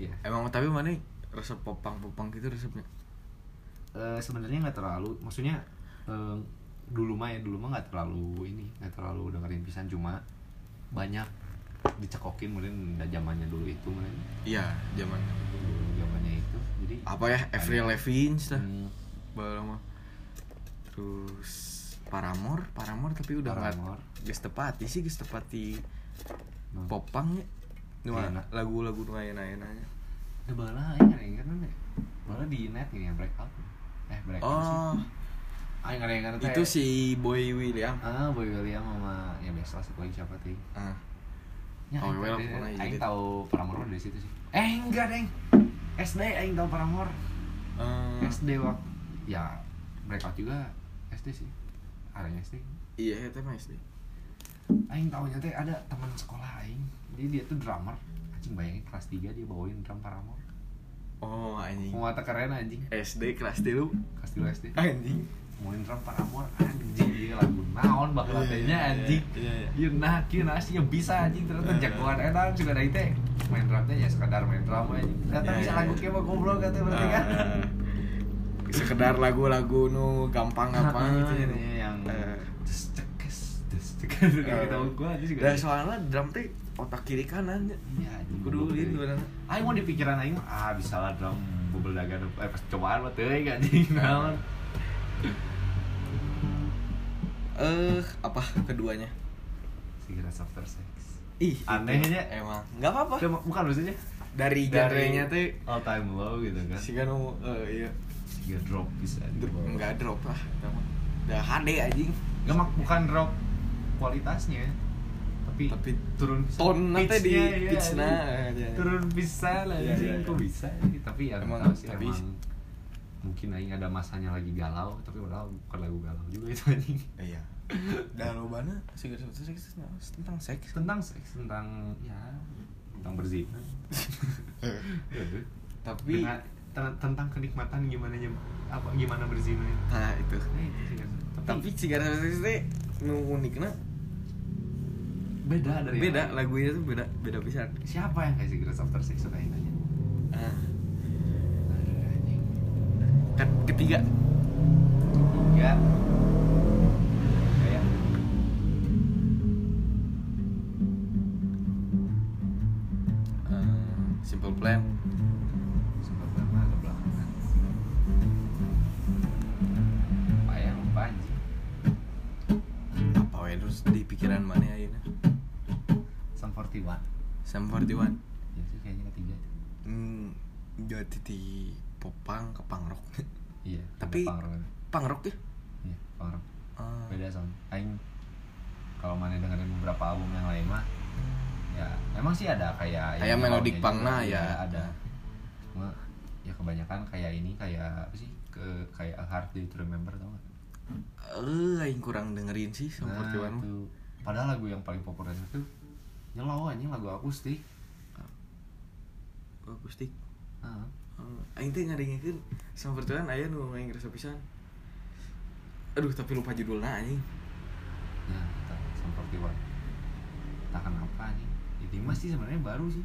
Speaker 2: Iya.
Speaker 1: emang tapi mana resep popang-popang gitu resepnya
Speaker 2: Eh, sebenarnya nggak terlalu maksudnya eh, dulu mah ya dulu mah nggak terlalu ini nggak terlalu dengerin pisan cuma banyak dicekokin mungkin nggak zamannya dulu itu mungkin
Speaker 1: iya zaman
Speaker 2: dulu zamannya itu jadi
Speaker 1: apa ya Avril Lavigne lah
Speaker 2: hmm,
Speaker 1: Baru lama terus Paramore Paramore tapi udah nggak
Speaker 2: Paramore.
Speaker 1: geus tepati sih geus tepati
Speaker 2: nah, Iya.
Speaker 1: popang ya Nu-
Speaker 2: Enak.
Speaker 1: lagu-lagu nu enak-enaknya
Speaker 2: ya bala aing ada yang kan bala di net gini ya break up eh break up sih
Speaker 1: oh
Speaker 2: aing ada yang kan
Speaker 1: itu si Boy William
Speaker 2: ah boy William sama ya biasa satu lagi siapa tuh
Speaker 1: ah
Speaker 2: Ya,
Speaker 1: Oh,
Speaker 2: Aing
Speaker 1: well,
Speaker 2: tadi-
Speaker 1: pokoknya
Speaker 2: Aing
Speaker 1: jadi.
Speaker 2: tahu Paramore dari situ sih. Eh, enggak, Deng. SD Aing tahu Paramore.
Speaker 1: Eh,
Speaker 2: SD waktu ya breakout juga SD sih adanya SD
Speaker 1: iya itu mah SD
Speaker 2: Aing tahunya teh ada teman sekolah Aing jadi dia tuh drummer anjing bayangin kelas 3 dia bawain drum Paramore
Speaker 1: oh anjing
Speaker 2: mau mata keren anjing
Speaker 1: SD kelas tilu
Speaker 2: kelas 3 SD
Speaker 1: anjing
Speaker 2: bawain drum Paramore anjing iya lagu naon bakal adanya anjing
Speaker 1: iya iya
Speaker 2: Iya nah, kieu nah sih bisa anjing ternyata jagoan edan juga dari teh main drumnya ya sekadar main drum aja ternyata
Speaker 1: Ya,
Speaker 2: bisa
Speaker 1: ya,
Speaker 2: lagu
Speaker 1: ya.
Speaker 2: kayak mau goblok kata berarti kan
Speaker 1: Ah, sekedar lagu-lagu nu gampang apa gitu
Speaker 2: Heeh,
Speaker 1: jadi.
Speaker 2: iya, yang
Speaker 1: Eh.
Speaker 2: des cekes des cekes kayak gitu gua aja juga
Speaker 1: Dan soalnya drum teh otak kiri kanan ya.
Speaker 2: Iya, anjing.
Speaker 1: Kudu ini
Speaker 2: Goblok,
Speaker 1: barang.
Speaker 2: eh. Aing mau di pikiran aing mah, ah bisa lah drum bubel dagang eh pas cobaan mah teuing anjing naon.
Speaker 1: Nah. Eh, apa keduanya?
Speaker 2: Cigarettes after sex.
Speaker 1: Ih,
Speaker 2: Anehnya.
Speaker 1: emang. Enggak apa-apa.
Speaker 2: Itu mah- bukan maksudnya
Speaker 1: Dari genre-nya teh
Speaker 2: all time low gitu kan.
Speaker 1: si Gano eh iya.
Speaker 2: Siga drop bisa.
Speaker 1: Dr- Enggak drop lah, eta mah. Udah HD anjing.
Speaker 2: Enggak mak bukan drop kualitasnya. Tapi,
Speaker 1: Tapi
Speaker 2: turun bisa.
Speaker 1: Tone nanti di
Speaker 2: Pitch-nya, iya,
Speaker 1: pitch-na.
Speaker 2: anjing.
Speaker 1: eh, iya.
Speaker 2: turun bisa lah
Speaker 1: Iya, iya,
Speaker 2: anjing
Speaker 1: iya.
Speaker 2: kok bisa tapi ya
Speaker 1: Emang
Speaker 2: emang tahu sih
Speaker 1: tapi-
Speaker 2: emang mungkin aing ada masanya lagi galau tapi padahal bukan lagu galau juga itu anjing
Speaker 1: Iya. Dan lobana Cigarette After Sex tentang seks.
Speaker 2: tentang seks tentang ya tentang berzina
Speaker 1: Tapi
Speaker 2: Dengan- ten- tentang kenikmatan gimana nyem- apa gimana berzina
Speaker 1: nah itu.
Speaker 2: Eh, itu sih, kan.
Speaker 1: Tapi Cigarette After Sex teh nu unikna
Speaker 2: beda dari yang
Speaker 1: beda
Speaker 2: lain.
Speaker 1: lagunya tuh beda beda pisan.
Speaker 2: siapa yang kayak cigarette after sex suka yang nanya
Speaker 1: Ah,
Speaker 2: Aduh, anjing.
Speaker 1: kan ketiga
Speaker 2: tiga ya. kayak
Speaker 1: eh, Simple Plan.
Speaker 2: Sempat lama agak belakangan Apa ya lupa anjing
Speaker 1: apa wae terus di pikiran mana ayeuna
Speaker 2: Sum 41
Speaker 1: Sam 41
Speaker 2: Ya sih kayaknya ketiga itu
Speaker 1: hmm jadi di popang ke pangrok
Speaker 2: Iya
Speaker 1: Tapi-
Speaker 2: ada Pangrok ada.
Speaker 1: pangrok ya
Speaker 2: Iya Pangrok
Speaker 1: Ah,
Speaker 2: Beda sound Aing Kalau mana dengerin beberapa album yang lain mah Ya emang sih ada kayak
Speaker 1: Kayak
Speaker 2: yang
Speaker 1: melodic
Speaker 2: lawannya
Speaker 1: punk
Speaker 2: juga,
Speaker 1: nah,
Speaker 2: iya,
Speaker 1: ya.
Speaker 2: Ada Cuma ya kebanyakan kayak ini kayak apa sih ke kayak A hard day to remember tau gak?
Speaker 1: eh aing kurang dengerin sih Sam 41 mah.
Speaker 2: Nah, itu. Padahal lagu yang paling populer itu nyelau anjing lagu akustik.
Speaker 1: Oh, akustik
Speaker 2: Heeh.
Speaker 1: Oh, aing teh ngadengekeun Sam 41 aya nu main ngerasa pisan aduh tapi lupa judulnya anjing
Speaker 2: Nah, kita seperti what entah kenapa nih ya Dimas sih sebenarnya baru sih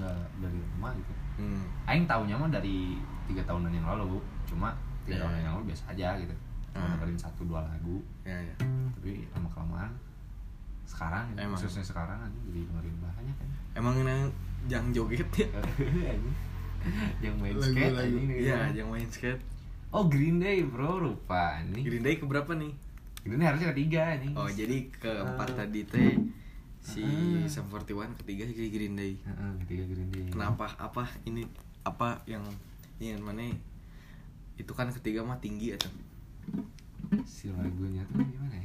Speaker 2: nggak dari lama gitu
Speaker 1: hmm.
Speaker 2: Aing tahunya mah dari tiga tahunan yang lalu cuma tiga
Speaker 1: Ya.
Speaker 2: tahunan yang lalu biasa aja gitu cuma
Speaker 1: Ah.
Speaker 2: dengerin satu dua lagu
Speaker 1: ya ya
Speaker 2: tapi lama kelamaan sekarang gitu,
Speaker 1: Emang.
Speaker 2: khususnya sekarang aja jadi dengerin banyak kan
Speaker 1: emang yang jang joget ya
Speaker 2: yang main skate
Speaker 1: Lagu-lagu.
Speaker 2: anjing,
Speaker 1: iya
Speaker 2: gitu.
Speaker 1: yang main skate
Speaker 2: oh Green Day bro rupa nih
Speaker 1: Green Day keberapa nih
Speaker 2: Green Day harusnya ketiga nih
Speaker 1: Oh jadi keempat tadi teh si
Speaker 2: Ah.
Speaker 1: Sam 41 ketiga si Green Day.
Speaker 2: ketiga Green Day
Speaker 1: Kenapa? Apa ini apa yang yang mana? Itu kan ketiga mah tinggi atau
Speaker 2: si lagunya tuh gimana ya?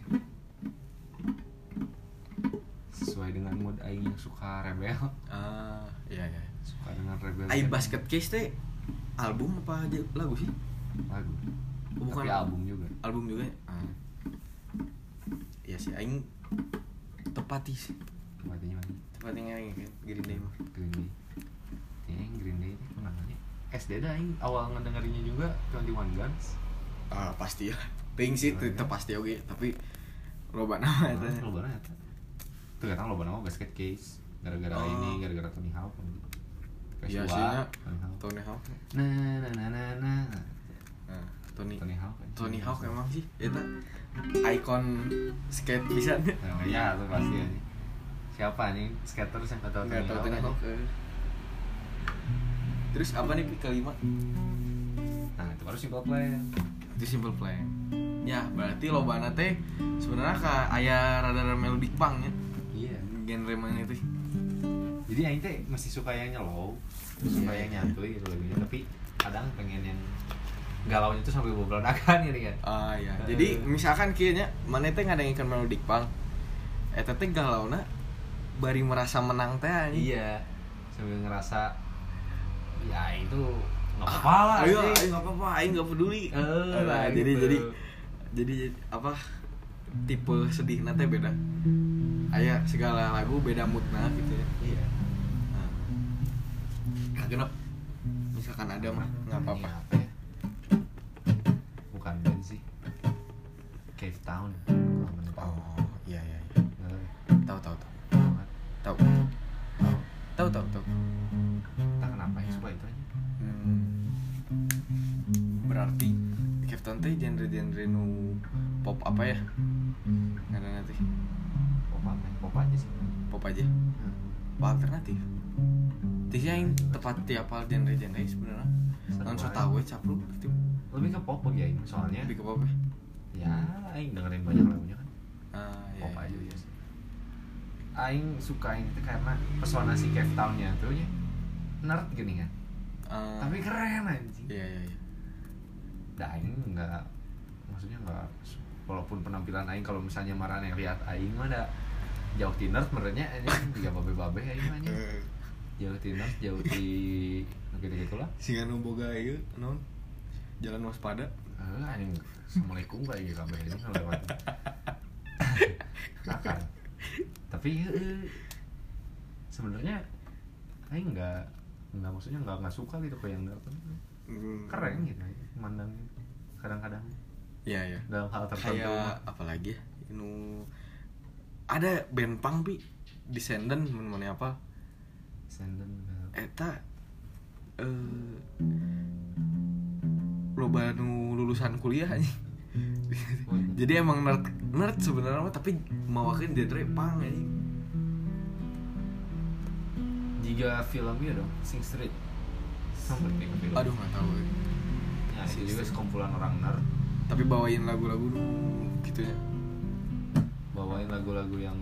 Speaker 2: Sesuatu sesuai dengan mood aing yang suka rebel
Speaker 1: Ah, iya iya.
Speaker 2: suka dengan rebel
Speaker 1: Ai Basket Case teh album apa aja lagu sih?
Speaker 2: lagu
Speaker 1: Oh, bukan.
Speaker 2: tapi album juga
Speaker 1: Album juga. ya? Ah. Iya sih aing tepati sih.
Speaker 2: tempatnya mana
Speaker 1: Tepatinya aing kan Green Day mah.
Speaker 2: Green Day ini Green Day ini kenangannya SD dah aing awal ngedengerinnya juga 21 Guns
Speaker 1: Ah, pasti lah. Ting sih
Speaker 2: Gimana?
Speaker 1: tetep pasti oke, tapi Iya, Ah, loba nama eta.
Speaker 2: Nah, Loba nama eta. Tuh kata loba nama basket case gara-gara
Speaker 1: Oh.
Speaker 2: ini, gara-gara Tony Hawk.
Speaker 1: Iya
Speaker 2: Joshua,
Speaker 1: sih, ya.
Speaker 2: Tony Hawk.
Speaker 1: Tony Hawk.
Speaker 2: Nah, nah, nah, nah, nah.
Speaker 1: Nah, Tony
Speaker 2: Tony Hawk.
Speaker 1: Tony Hawk emang sih eta ikon skate bisa
Speaker 2: Nah, iya, itu pasti aja. Siapa nih skaters yang kata
Speaker 1: nggak
Speaker 2: Tony
Speaker 1: tahu
Speaker 2: Hawk?
Speaker 1: Tony
Speaker 2: aja?
Speaker 1: Hawk eh. terus apa nih Pi, kelima
Speaker 2: Nah, itu baru simple plan.
Speaker 1: itu simple plan ya berarti loba teh sebenarnya ka aya rada-rada melodic punk ya
Speaker 2: Iya.
Speaker 1: genre mana itu
Speaker 2: Jadi aing teh masih suka yang nyelow,
Speaker 1: Iya.
Speaker 2: suka yang nyantuy gitu lagunya, tapi kadang pengen yang galaunya tuh sampai bobradakan gitu kan.
Speaker 1: ah ya jadi
Speaker 2: Eh.
Speaker 1: misalkan kayaknya mana teh nggak ada yang ikan melodic punk eta teh galau bari merasa menang teh anjing.
Speaker 2: Iya, sambil ngerasa ya itu nggak apa-apa lah.
Speaker 1: ayo
Speaker 2: sih.
Speaker 1: Oh, iya, ayo nggak apa-apa ayo nggak peduli
Speaker 2: Eh, lah
Speaker 1: jadi
Speaker 2: gitu.
Speaker 1: jadi jadi jadi apa tipe sedih nanti beda ayah segala lagu beda moodnya gitu ya
Speaker 2: Iya.
Speaker 1: nah, nah genep misalkan ada mah nggak apa-apa
Speaker 2: Ini apa ya? Bukan band sih. Cave Town. Kalau menurut aku.
Speaker 1: oh iya iya iya.
Speaker 2: Eh,
Speaker 1: tahu tahu tahu
Speaker 2: banget.
Speaker 1: tahu tahu tahu tahu
Speaker 2: Entah kenapa ya suka itu aja.
Speaker 1: Hmm. berarti Captain teh genre-genre nu pop apa ya? Nggak ada nanti
Speaker 2: Pop apa? Pop aja sih.
Speaker 1: pop aja. apa alternatif Tisnya yang tepat tiap hal genre genre sebenarnya non so tau ya capru gitu
Speaker 2: Lebih ke pop ya ini soalnya.
Speaker 1: lebih ke apa ya
Speaker 2: Ya, aing dengerin banyak lagunya kan.
Speaker 1: ah ya
Speaker 2: Pop aja ya sih. Aing suka ini tuh karena pesona si Cave Town-nya tuh ya. Nerd gini kan.
Speaker 1: Ah,
Speaker 2: Tapi keren anjing.
Speaker 1: iya iya iya
Speaker 2: Nah Aing nggak maksudnya nggak walaupun penampilan Aing kalau misalnya marah yang lihat Aing mah ada jauh di nerd menurutnya Aing juga babe babe Aing mah nya.
Speaker 1: Eh,
Speaker 2: jauh di nerd jauh di gitu gitulah
Speaker 1: si Gano boga iya non jalan waspada
Speaker 2: Eh, Aing assalamualaikum kayak gitu kabeh ini lewat nakal tapi eh, sebenarnya Aing nggak nggak maksudnya nggak nggak suka gitu kayak yang nerd
Speaker 1: Hmm.
Speaker 2: keren gitu mandangnya kadang-kadang
Speaker 1: iya iya
Speaker 2: dalam hal tertentu mah.
Speaker 1: kayak apalagi ya nu ada band punk pi Descendant mana apa
Speaker 2: Senden eh,
Speaker 1: eta eh loba nu lulusan kuliah anjing. jadi emang nerd nerd sebenarnya mah, tapi mawakeun genre punk anjing.
Speaker 2: Jika film ya dong, Sing Street Sampai ke film
Speaker 1: aduh nggak tahu eh.
Speaker 2: Ya itu juga sekumpulan orang nerd
Speaker 1: tapi bawain lagu-lagu nu gitu ya
Speaker 2: Bawain lagu-lagu yang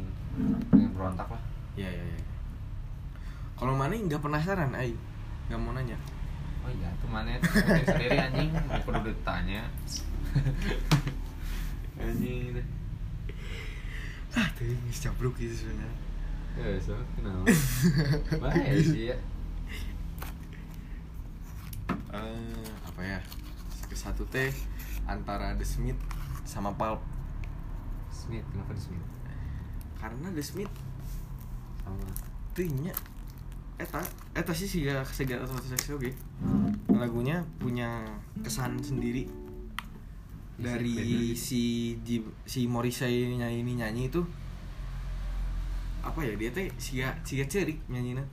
Speaker 2: pengen berontak lah
Speaker 1: ya ya ya kalau mana nggak penasaran ai nggak mau nanya
Speaker 2: Oh iya, itu mana Bikin sendiri anjing, aku udah ditanya Anjing deh
Speaker 1: ah tuh ini cabruk gitu sebenarnya
Speaker 2: Ya, so, kenal Bahaya sih ya
Speaker 1: Eh, apa ya ke satu teh antara The Smith sama Pulp
Speaker 2: Smith, kenapa di Smith?
Speaker 1: karena The Smith
Speaker 2: Sama
Speaker 1: tehnya eta eta sih sih gak segala atau seksi oke lagunya punya kesan sendiri
Speaker 2: Isi
Speaker 1: dari
Speaker 2: bandnya
Speaker 1: si Jim- si Morrissey nyanyi ini nyanyi itu apa ya dia teh siga siga cerik nyanyinya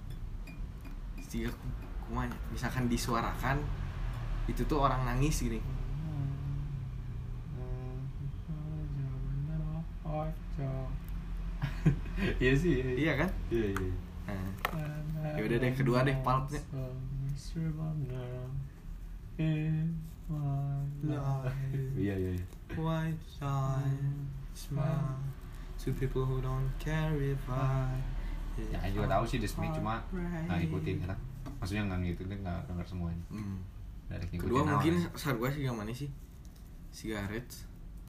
Speaker 1: siga ku- kumanya misalkan disuarakan itu tuh orang nangis gini
Speaker 2: Iya sih, iya
Speaker 1: iya kan
Speaker 2: Iya, iya
Speaker 1: nah,
Speaker 4: Ya udah deh, kedua deh, palpnya.
Speaker 2: Iya, iya, iya
Speaker 1: White line, smile to people who don't care if I.
Speaker 2: Ya, Aing juga tahu sih The Smith, cuma nggak ngikutin kan maksudnya nggak ngikutin nggak denger semuanya
Speaker 1: Hmm.
Speaker 2: dari ngikutin
Speaker 1: Kedua
Speaker 2: awal.
Speaker 1: mungkin saat gue sih gimana sih? Cigarettes